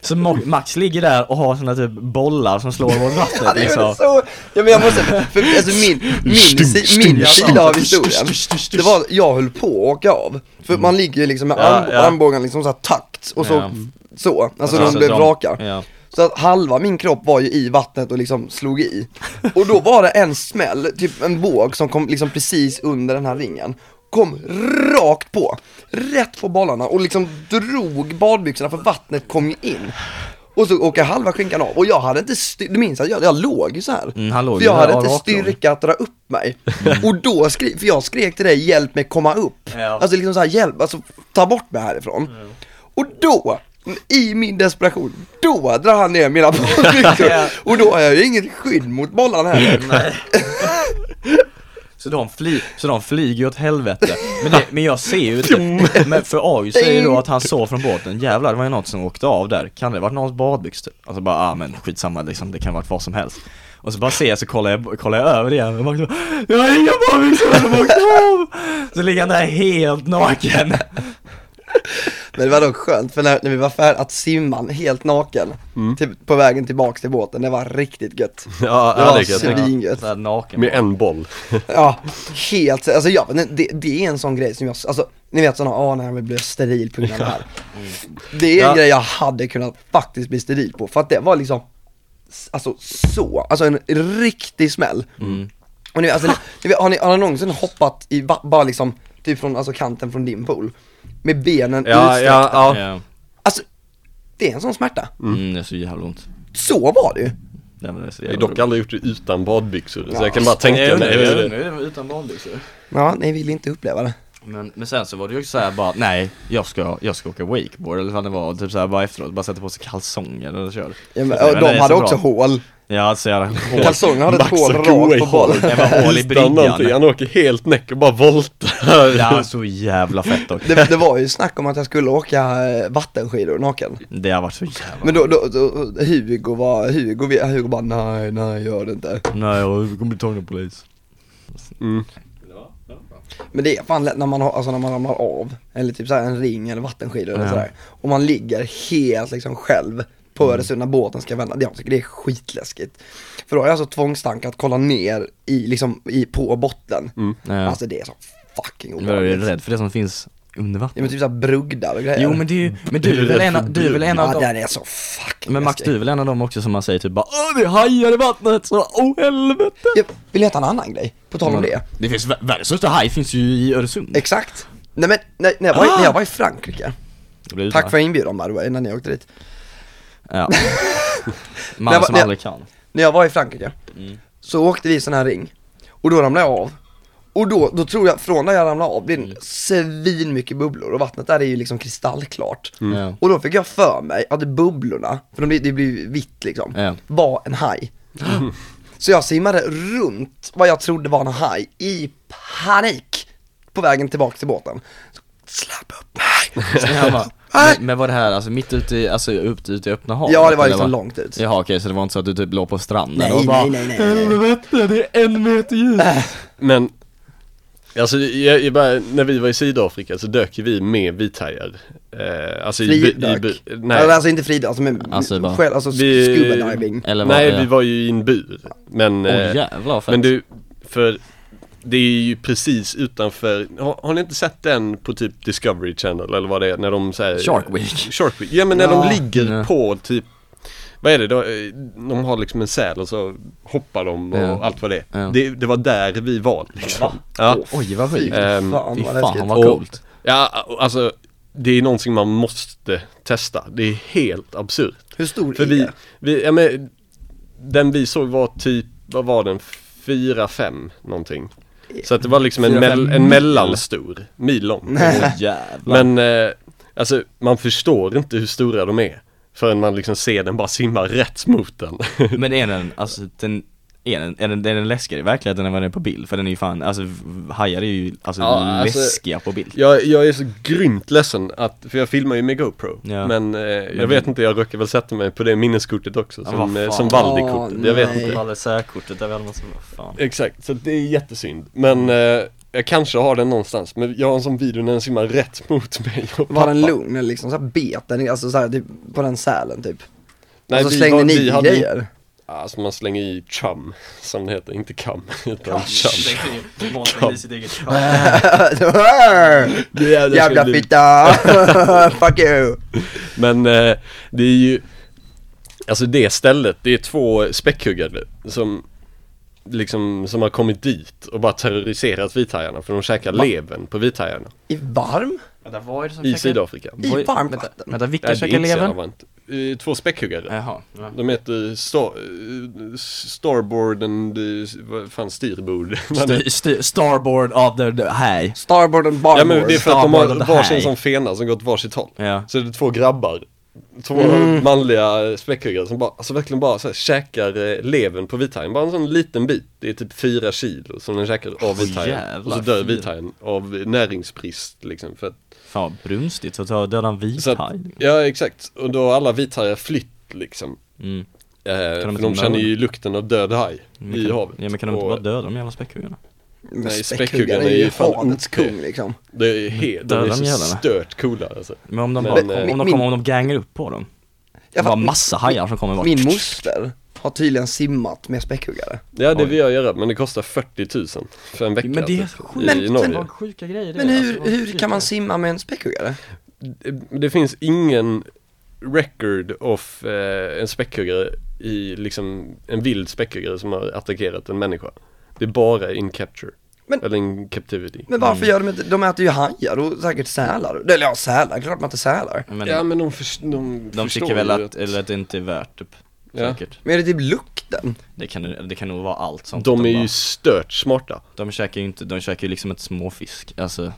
Så Ma- Max ligger där och har såna typ bollar som slår mot vattnet
Det är
liksom
så, ja men jag måste, för alltså min,
[laughs]
min, si, min sida av historien Det var, jag höll på att åka av För man ligger ju liksom med arm,
ja.
armbågen liksom såhär takt och så,
Mm. Ja. Mm.
så, alltså de
Alltså,
blev
de-
raka
ja.
Så att halva min kropp var ju i vattnet och liksom slog i Och då var det en smäll, typ en våg som kom liksom precis under den här ringen Kom rakt på, rätt på bollarna och liksom drog badbyxorna för vattnet kom ju in och så åker halva skinkan av och jag hade inte styr, du minns att jag, jag låg ju så här.
Mm, han låg
för
ju
jag hade
ra-
inte
rakt Mm. låg.
styrka att dra upp mig. Och då skrek, för jag skrek till dig hjälp mig komma upp.
Ja.
Alltså liksom så här hjälp, alltså ta bort mig härifrån. Och då, i min desperation, då drar han ner mina bollbyxor. Och då har jag ju inget skydd mot bollarna heller.
Så de, fly, så de flyger åt helvete. Men, det, men jag ser ju inte. Men för AU säger ju då att han såg från båten, jävlar det var ju något som åkte av där. Kan det ha varit någons badbyx typ? Alltså bara, ah men skitsamma liksom, det kan ha varit vad som helst. Och så bara ser jag, så kollar jag, kollar jag över igen och Magnus bara, Jag har inga badbyxor, de åkte av! Så ligger han där helt naken.
[laughs] Men det var dock skönt, för när, när vi var färdiga, att simman helt naken,
Mm.
typ på vägen tillbaks till båten, det var
[laughs]
riktigt gött.
Ja,
Det var
ja det kan jag tänka mig.
svingött.
Såhär naken.
Med en boll.
Ja, helt, alltså jag, vet inte, det, det är en sån grej som jag, alltså ni vet sådana, åh när jag blev steril på grund av det här. Det är en
Ja.
grej jag hade kunnat faktiskt bli steril på, för att det var liksom, s- alltså så, alltså en riktig smäll. Och ni, vet, alltså, ni, ni, vet, har, ni, har ni någonsin hoppat i, ba, bara liksom, typ från, alltså kanten från din pool? Med benen
Ja,
utsträckta.
ja, ja.
Ja.
Alltså, det är en sån smärta.
Mm, det är så jävla ont.
Så var det ju.
Det är
Jag har
så jävla
dock
ont.
aldrig gjort det utan badbyxor, så
Ja.
jag kan bara
Nej,
tänka
jag undrar,
mig
jag
hur
undrar,
det...
hur det var utan badbyxor.
Ja, ni ville inte uppleva det.
Men, men sen så var det ju också såhär bara, nej, jag ska, jag ska åka wakeboard eller vad det var, typ såhär bara efteråt, bara sätta på sig kalsonger och kör
Ja, men,
Nej,
och
men
de
det är så
hade
bra.
också hål.
Ja, så
[laughs]
jävla hål
Kalsongerna hade ett
Max och
hål rakt på
Koei
bollen.
Det var hål i
Utan någonting,
bryggan
han åker helt näck och bara voltar.
Ja, alltså. så jävla fett dock
Det, det var ju snack om att jag skulle åka eh, vattenskidor naken.
Det har varit så jävla
Men då, då, då Hugo var, Hugo, Hugo bara nej, nej gör det inte.
Nej, jag kommer bli tagen av polis
Mm.
Men det är fan lätt när man, har, alltså när man ramlar av, eller typ såhär en ring eller vattenskidor eller
Ja.
sådär. Och man ligger helt liksom själv
Mm.
på Öresund när båten ska vända. Jag tycker det är skitläskigt. För då har jag alltså tvångstanke att kolla ner i, liksom, i, på botten.
Mm. ja.
Alltså det är så fucking
Jag är
obehagligt.
rädd för det som finns under
Ja
vatten
men typ såhär brugdar och grejer.
Jo men det är ju, men du är väl en, av- du är väl en av
Ja
dem
den är så fucking
Men Max,
läskig.
du är väl en av dem också som man säger typ bara Åh, det är hajar i vattnet, så åh helvete
Jag vill veta en annan grej, på tal om det.
Det finns, vär- världens största haj finns ju i Öresund
Exakt. Nej men, när, när, jag var, i-
Ah!
när jag var i Frankrike,
Det blir
tack för inbjudan by the way, innan ni åkte dit. [laughs]
Ja.
Nej,
Man som
nej.
aldrig kan.
När jag var i Frankrike,
Mm.
så åkte vi i sån här ring, och då ramlade jag av. Och då, då tror jag, från när jag ramlade av, blir det
Mm.
svin mycket bubblor och vattnet där är ju liksom kristallklart.
Ja.
Och då fick jag för mig att bubblorna, för de, blir- det blir ju vitt liksom,
Ja.
var en haj. Så jag simmade runt vad jag trodde var en haj i panik på vägen tillbaka till båten. Så, Släpp upp mig!
Jag [laughs]
[laughs]
bara, men, men var det här alltså mitt ute i, alltså upp ute i öppna havet?
Ja, det
eller
var liksom
vad?
långt ut.
Jaha okej, så det var inte så att du typ låg på stranden
Nej,
och bara
nej, nej, nej, nej.
Helvete, det är en meter djupt!
[laughs] Men, alltså jag, jag bara, när vi var i Sydafrika så dök ju vi med vithajar. Eh, alltså i bu-
Fridök.
i bu-
Eller
Nej,
Alltså inte fridök, alltså, men
Alltså, bara-
själv, alltså
Vi-
scuba diving.
Eller vad
nej
det
vi var ju i en bur. Men,
Åh
eh,
jävlar fett.
men du, för det är ju precis utanför, har, har ni inte sett den på typ Discovery Channel eller vad det är när de säger
Shark Week.
Shark Week, ja men när
Ja.
de ligger
Ja.
på typ vad är det då? Eh, De har liksom en säl och så hoppar de och
Ja.
allt vad det är.
Ja.
Det, det var där vi var liksom. Ja.
Oj vad sjukt.
Ehm,
Fan,
Fy
vad
fan
läskigt.
vad coolt.
Ja, alltså det är någonting man måste testa. Det är helt absurt.
Hur stor
För
är
vi,
det?
vi ja, men, den vi såg var typ, vad var den, fyra fem någonting. Så att det var liksom en,
Fyra, fem
mell, en mellanstor, mil lång.
Åh jävlar.
Men eh, alltså man förstår inte hur stora de är. Förrän man liksom ser den bara simma rätt mot den.
Men, är den, alltså den är den, är den, är den läskigare i verkligheten än vad den är på bild? För den är ju fan, alltså v- hajar är ju alltså
Ja, alltså-
läskiga på bild
jag, jag är så grymt ledsen att, för jag filmar ju med GoPro.
Ja.
Men eh, jag vet inte, jag råkar väl sätta mig på det minneskortet också.
vad
Som,
fan.
eh, som Valdi-kortet, jag vet
nej.
inte.
Det var särkortet där vi hade massa, fan
Exakt, så det är jättesynd. Men eh, jag kanske har den någonstans. Men jag har en sån video när den simmar rätt mot mig och
Var den
pappa.
lugn eller liksom såhär bet den, alltså såhär typ på den sälen typ?
Nej,
och så
vi
slängde
var-
ni
vi
i
hade-
grejer?
Alltså man slänger i chum, som det heter. Inte [laughs] kam, utan chum.
Monstret i sitt eget
[laughs] Jävla fitta! [laughs] Fuck you!
Men eh, det är ju, alltså det stället, det är två späckhuggare som liksom, som har kommit dit och bara terroriserat vithajarna för de käkar levern på vithajarna
I varm?
Vänta, vad är det som
i Sydafrika.
I
Oj,
varmt
vänta,
vatten?
Vänta, vilka
Nej, det är
käkar
inte så jävla
levern?
varmt. Eh, Två späckhuggare.
Jaha, ja.
De heter star, eh, Starboard and, eh, vad fan styrbord?
St- st- starboard of the, the high
Starboard and
ja
barboard?
men det är för att de
Starboard
har
and the
varsin
high.
som fena som går åt varsitt håll.
Ja.
Så det är två grabbar två manliga späckhuggare som bara, alltså verkligen bara så här, käkar eh, levern på vithajen. Bara en sån liten bit, det är typ fyra kilo som den käkar av
Åh,
vithajen. Och
jävlar,
så dör
fyra.
vithajen av näringsbrist liksom. För att,
Fan vad brunstigt att ta döda en
så att,
vithaj.
ja exakt, och då har alla vithajar flytt liksom.
Mm.
Eh, för
inte
de känner
mörda?
ju lukten av död haj
Men
i
kan,
havet.
Ja men kan de inte
Och
bara döda de jävla späckhuggarna?
Nej,
Späckhuggaren är ju havets kung liksom.
Det är, he- de
Döda
är
de
så
jävlarna.
stört coola alltså.
Men om de,
Men,
bara,
eh,
om, om de
min-
kommer, om de gangar upp på dem? Det
Jag
var
fatt-
massa hajar som kommer bara
Min moster har tydligen simmat med späckhuggare.
Ja det
Oj.
vill jag göra, men det kostar 40 000 för en vecka
Men det är
alltså,
sjukt.
i
Men-
Norge.
Vad sjuka grejer det
Men
är,
hur,
alltså, vad
hur
sjuka
kan man
grejer.
simma med en späckhuggare?
det, det finns ingen record of eh, en späckhuggare i liksom en vild späckhuggare som har attackerat en människa. Det är bara in capture.
Men-
Eller in captivity.
Men varför gör de inte, de äter ju hajar och säkert sälar. Eller ja, sälar, klart man inte sälar.
Men,
ja men de, förs- de,
De
förstår
tycker väl
ju
att, eller att det inte är värt typ,
Ja.
säkert
Men är det typ lukten?
det kan, det kan nog vara allt sånt
de är
bara,
ju stört smarta.
de käkar ju inte, de käkar ju liksom inte småfisk, alltså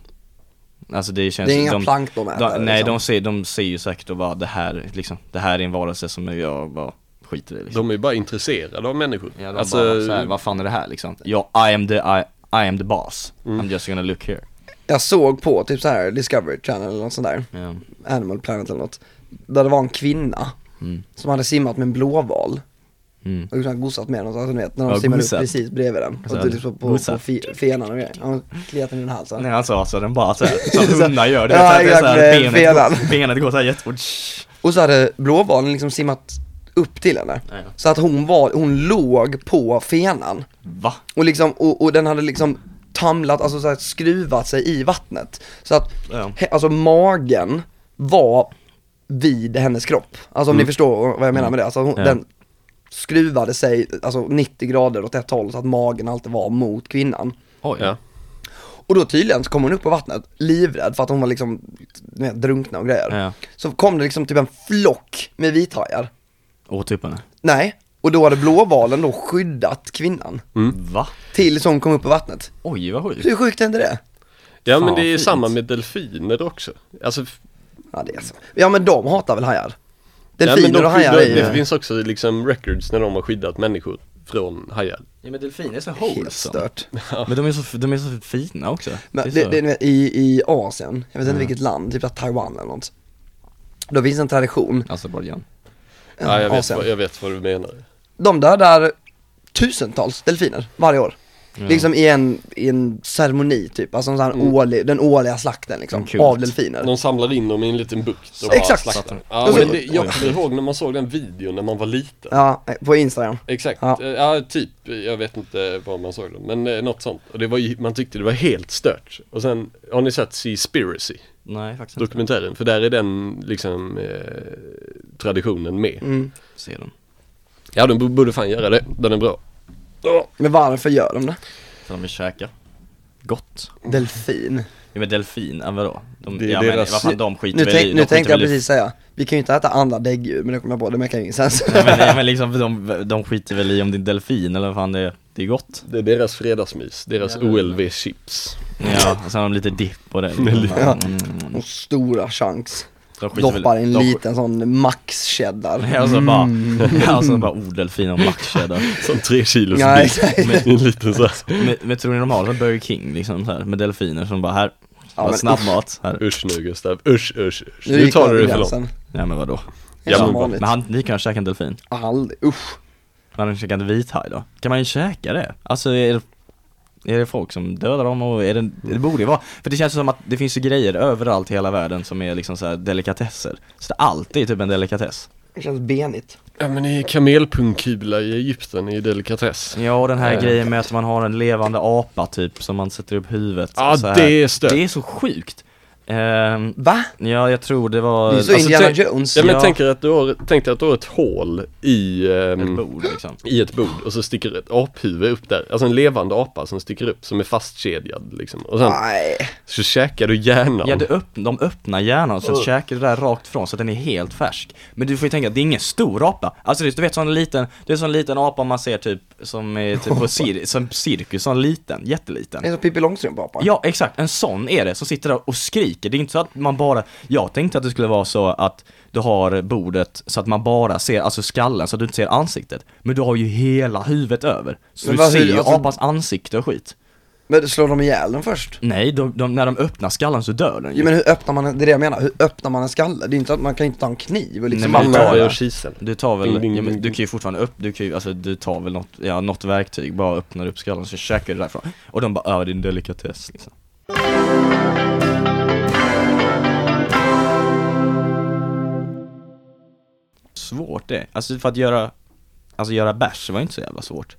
Alltså det känns
Det är inga
de,
planktonätare,
de, Nej
liksom.
de ser, de ser ju säkert och bara det här, liksom, det här är en varelse som jag bara skiter i liksom.
De är ju bara intresserade av människor. Alltså,
ja, de bara så här, vad fan är det här liksom? Alltså, Ja, I am the, I, I am the boss,
Mm.
I'm just gonna look here
Jag såg på typ så här Discovery Channel eller något sånt där,
ja.
Animal Planet eller något. Där det var en kvinna
Mm.
som hade simmat med en blåval.
Mm.
Och liksom gosat med den, så, alltså, du vet, när de
Ja,
simmar upp
gosat.
precis bredvid den.
Alltså,
Och typ så på, på
gosat.
fi, fenan och grejer. Ja, hon kliade den i halsen.
Nej alltså, alltså den bara såhär,
[laughs]
som hundar gör, det
Ja,
är såhär, det är
exakt,
såhär,
eh,
benet,
felan.
går, benet går såhär jättefort
Och så hade blåvalen liksom simmat upp till henne.
Ja, ja.
Så att hon var, hon låg på fenan.
Va?
Och liksom, och, och den hade liksom tamlat, alltså så här, skruvat sig i vattnet. Så att,
Ja.
he, alltså magen var vid hennes kropp. Alltså om ni förstår vad jag menar med det, alltså hon,
Mm. Ja.
den skruvade sig, alltså 90 grader åt ett håll så att magen alltid var mot kvinnan.
Oj
Ja.
Och då tydligen så kom hon upp på vattnet, livrädd för att hon var liksom, du vet, drunkna och grejer.
Ja.
Så kom det liksom typ en flock med vithajar.
Åt upp henne?
Nej, och då hade blåvalen då skyddat kvinnan.
Mm.
Va?
Tills hon kom upp på vattnet.
Oj vad sjukt
Hur sjukt är inte det?
ja men
Fan,
det är ju
fint.
samma med delfiner också. Alltså, f-
Ja det är så. Ja men de hatar väl hajar?
ja, men
Delfiner
de
och hajar
skyddar-
är
Det
ju
finns också liksom records när de har skyddat människor från hajar.
Ja men delfiner är så alltså.
helt
alltså.
wholesome
stört.
Men de är så, de är så fina också
Men
det, är
det,
så-
det, ni vet, i, i Asien, jag vet inte
Mm.
vilket land, typ Taiwan eller något. Då finns en tradition,
Azerbajdzjan
Ja, jag, vet
Asien.
vad, jag vet vad du menar.
de dödar tusentals delfiner varje år. Liksom i en, i en ceremoni typ, alltså en sån här årlig, den årliga slakten liksom,
Mm, kul.
av delfiner.
De samlar in dem i en liten bukt och
Exakt.
bara slaktar.
Och
Ja,
så-
men det, jag kommer ihåg när man såg den videon när man var liten.
Ja, på Instagram.
Exakt,
Ja.
ja. ja typ, jag vet inte var man såg den, men eh, något sånt. Och det var ju, man tyckte det var helt stört. Och sen, har ni sett Seaspiracy?
Nej faktiskt inte,
Dokumentären? För där är den liksom eh, traditionen med.
Mm.
se dem
Ja, de b- borde fan göra det, den är bra.
Men varför gör de det?
För de vill käka Gott
Delfin.
Ja men delfin, ja, vadå? De,
Det är
ja, men
deras-
vad fan de skiter
Nu,
väl i,
tänk,
de
nu
skiter
tänkte jag
väl i-
precis säga, vi kan ju inte äta andra däggdjur men det kom jag på, det märker ingen sens.
Nej men, nej, men liksom för de, de skiter väl i om det är delfin eller vad fan det är, det är gott
Det är deras fredagsmys, deras OLV-chips.
Ja, och sen har de lite dipp och det
Ja.
mm,
[laughs] Och stora chans.
de skiter väl-
Doppar i en
de-
liten sån Mm. max cheddar.
Ja och så bara, ja och så bara ordelfin och mackkedja
Som tre kilos
Ja,
bit.
exakt.
[laughs]
I en liten så här.
Men, men tror ni de har som Burger King liksom så här, med delfiner som bara här, bara
men
snabbmat här
Usch nu Gustav, usch usch usch.
gick
Nu tar
jag
du
över
det för långt.
gränsen.
Ja men vadå?
Ja,
Ja,
som
men-
vanligt.
Men han, ni kan käka en delfin,
Aldrig, usch.
man har käkat en vithaj då? Kan man ju käka det? Alltså är det, är det folk som dödar dem och är det, det borde ju vara För det känns ju som att det finns ju grejer överallt i hela världen som är liksom så här delikatesser Så det alltid är typ en delikatess
Det känns benigt.
Ja men i kamelpungkula i Egypten är ju delikatess.
Ja och den här
Ja.
grejen med att man har en levande apa typ som man sätter upp huvudet
Ja,
så här.
det är stört.
Det är så sjukt Ehm,
Va?
Ja jag tror det var
Det är så
alltså,
Indiana
tänk-
Jones.
Ja men
Ja.
tänk dig att du har, tänk dig att du har ett hål i, ehm,
ett bord liksom
i ett bord och så sticker ett aphuvud upp där. Alltså en levande apa som sticker upp som är fastkedjad liksom. Och sen
Nej.
så käkar du hjärnan.
Ja, du öpp de öppnar hjärnan så att käkar du där rakt från så att den är helt färsk. Men du får ju tänka, det är ingen stor apa. Alltså det- du vet sån liten, det är sån liten apa man ser typ som är typ på
[laughs]
cir som cirkus, sån liten,
Det är
jätteliten.
som Pippi Långstrump apa.
Ja, exakt, en sån är det som sitter där och skriker butiker. Det är inte så att man bara, jag tänkte att det skulle vara så att du har bordet så att man bara ser, alltså skallen, så att du inte ser ansiktet. Men du har ju hela huvudet över. Så
Men
du
vad-
ser ju
alltså-
apans ansikte och skit.
Men slår de ihjäl den först?
Nej, de, de, när de öppnar skallen så dör den ju.
Jo men hur öppnar man en, det är det jag menar, hur öppnar man en skalle? Det är inte att man kan inte ta en kniv och liksom
Nej, men
bara
tar
Mamma
det.
gör kisel.
Du tar väl,
Ding, ding,
ja, men
ding,
du
ding.
kan ju fortfarande upp, du kan ju, alltså du tar väl något, ja något verktyg, bara öppnar upp skallen så käkar du därifrån. Och de bara, ja din delikatess liksom. Svårt det, alltså för att göra, alltså göra bärs var inte så jävla svårt.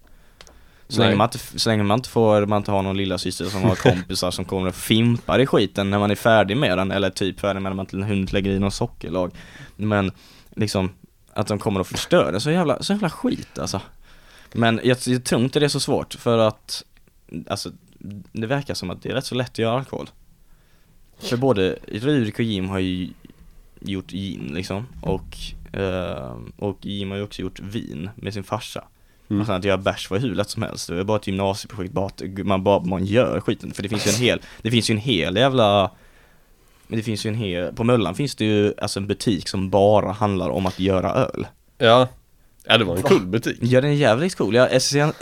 Så länge,
Nej.
man inte, så länge man inte får, man inte har någon lilla syster som har kompisar som kommer och fimpar i skiten när man är färdig med den, eller typ färdig med den, man inte hunnit lägga i någon sockerlag. Men liksom, att de kommer och förstör det, så jävla, så jävla skit alltså. Men jag, jag tror inte det är så svårt, för att, alltså, det verkar som att det är rätt så lätt att göra alkohol. För både Rurik och Jim har ju gjort gin liksom, och, eh, och Jim har ju också gjort vin med sin farsa.
Mm.
Och sen att göra bärs var hur lätt som helst, det var bara ett gymnasieprojekt, bara att man, bara, man gör skiten. För det finns ju en hel, det finns ju en hel jävla men det finns ju en hel, på Möllan finns det ju alltså en butik som bara handlar om att göra öl.
Ja. Ja, det var en cool butik.
Ja den är jävligt cool, jag är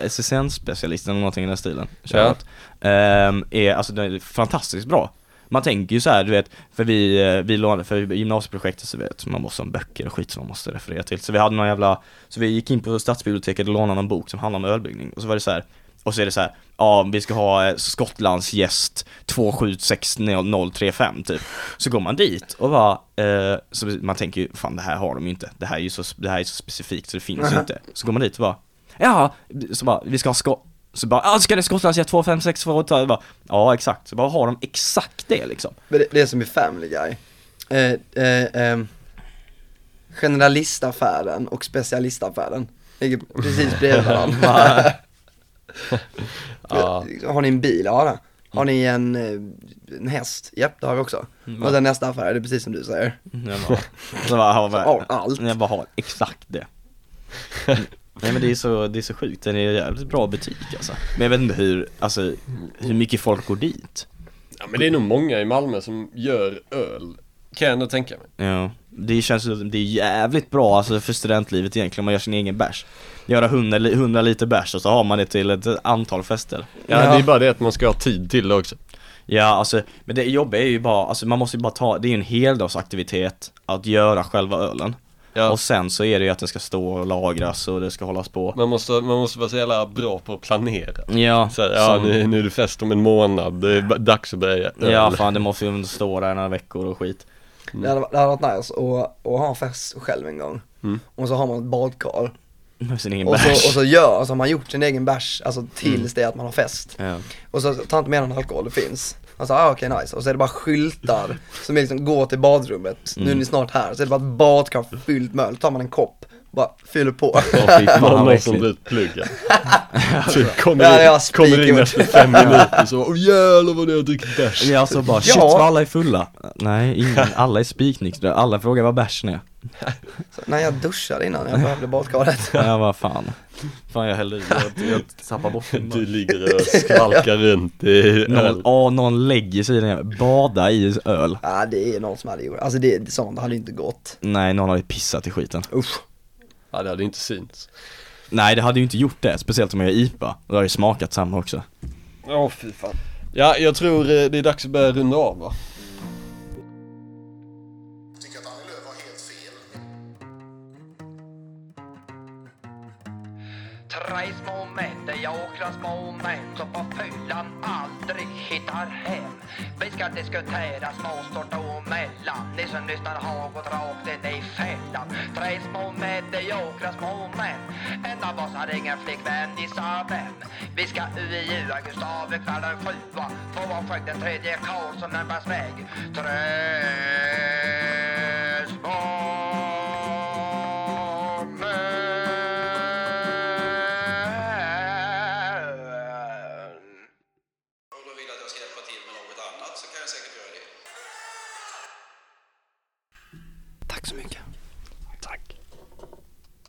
SSN-specialist eller någonting i den stilen.
Ja.
Ja. Ehm, är, alltså den är fantastiskt bra. Man tänker ju så här, du vet, för vi, eh, vi lånade, för gymnasieprojektet så vet man måste ha böcker och skit som man måste referera till. Så vi hade någon jävla, så vi gick in på stadsbiblioteket och lånade någon bok som handlade om ölbryggning. Och så var det så här, och så är det så här, ja vi ska ha eh, Skottlands gäst 276035 typ. Så går man dit och bara, eh, så man tänker ju fan det här har de ju inte, det här är ju så, det här är så specifikt så det finns ju inte. Så går man dit och bara, ja, så bara, vi ska ha skott så bara, ah, ska det Skottlands jet 25648? Jag bara, Ja exakt, så bara har de exakt det liksom.
Men det, det är som i Family Guy. Eh, eh, ehm, generalistaffären och specialistaffären ligger precis bredvid
[laughs]
varandra.
Ja.
[laughs] Har ni en bil? Ja det. Har ni en, eh, en häst? Japp, det har vi också.
Mm,
Och sen nästa affär, det är precis som du säger.
Mm.
Jag bara, så bara, har
Så har allt.
Jag bara har exakt det. Nej men det är så, det är så sjukt, den är en jävligt bra butik alltså. Men jag vet inte hur, alltså, hur mycket folk går dit.
ja, men det är nog många i Malmö som gör öl. Kan jag ändå tänka mig.
Ja, det känns ju som det är jävligt bra alltså för studentlivet egentligen, man gör sin egen bärs. Göra 100, li- 100 liter bärs och så har man det till ett antal fester.
Ja,
Ja.
det är bara det att man ska ha tid till det också.
Ja, alltså, men det jobbiga är ju bara, alltså man måste ju bara ta, det är ju en heldagsaktivitet att göra själva ölen.
Ja.
Och sen så är det ju att den ska stå och lagras och det ska hållas på.
Man måste, man måste vara så jävla bra på att planera.
Ja,
Så här, ja, nu, nu är det fest om en månad, det är ba- dags att börja göra öl.
ja fan det måste ju stå där några veckor och skit. [laughs]
Det hade, det hade varit nice att, att ha en fest själv en gång.
Mm.
Och så har man ett badkar.
Med sin egen
Och
bärs.
så,
Mm.
och så gör, alltså har man gjort sin egen bärs, alltså tills det att man har fest.
Ja.
Och så tar inte med någon alkohol, det finns. Alltså, ah, okej nice. Och så är det bara skyltar som är liksom, gå till badrummet, nu är
Mm.
ni snart här. Så är det bara ett badkar fyllt med öl, Då tar man en kopp, bara
[laughs]
fyller på.
Åh, fy fan,
Någon
vad
någon som
äckligt.
blir
[laughs]
utpluggad. Typ kommer,
Ja, jag
in- kommer in efter
spikar.
fem minuter
[laughs]
så, åh jävlar vad ni har druckit bärs.
Ja, så bara shit
Ja.
vad alla är fulla. Nej, ingen, alla är spiknyktra, alla frågar vad bärsen är.
Så, nej jag duschade innan jag
[laughs]
behövde badkaret.
Jag bara fan. Fan jag hällde i, jag, [laughs] jag tappade bort
[laughs]
min
Du ligger och skvalkar runt i
Någon,
öl.
åh, någon lägger sig i den jävla- bada i öl.
Ja ah, det är någon som hade gjort, alltså det, sånt hade ju inte gått.
Nej, någon hade pissat i skiten.
Usch.
Ja, det hade inte synts.
Nej det hade ju inte gjort det, speciellt om jag är IPA. Då har det smakat samma också.
Åh, fy fan. Ja, jag tror eh, det är dags att börja runda av va?
tycker att Annie Lööf har helt fel.
Tre små män, det är jäkla små män som på fyllan aldrig hittar hem. Vi ska diskutera småstort och mellan. Ni som lyssnar har gått rakt in i fällan. Tre små män, det är jäkla små män. En av oss har ingen flickvän, gissa vem? Vi ska UIUa Gustav ikväll den sjua. Tvåan sköt den tredje Karl som närmast väg. Tre små män.
Om du vill att jag ska hjälpa till med något annat så kan jag säkert göra det.
Tack så mycket.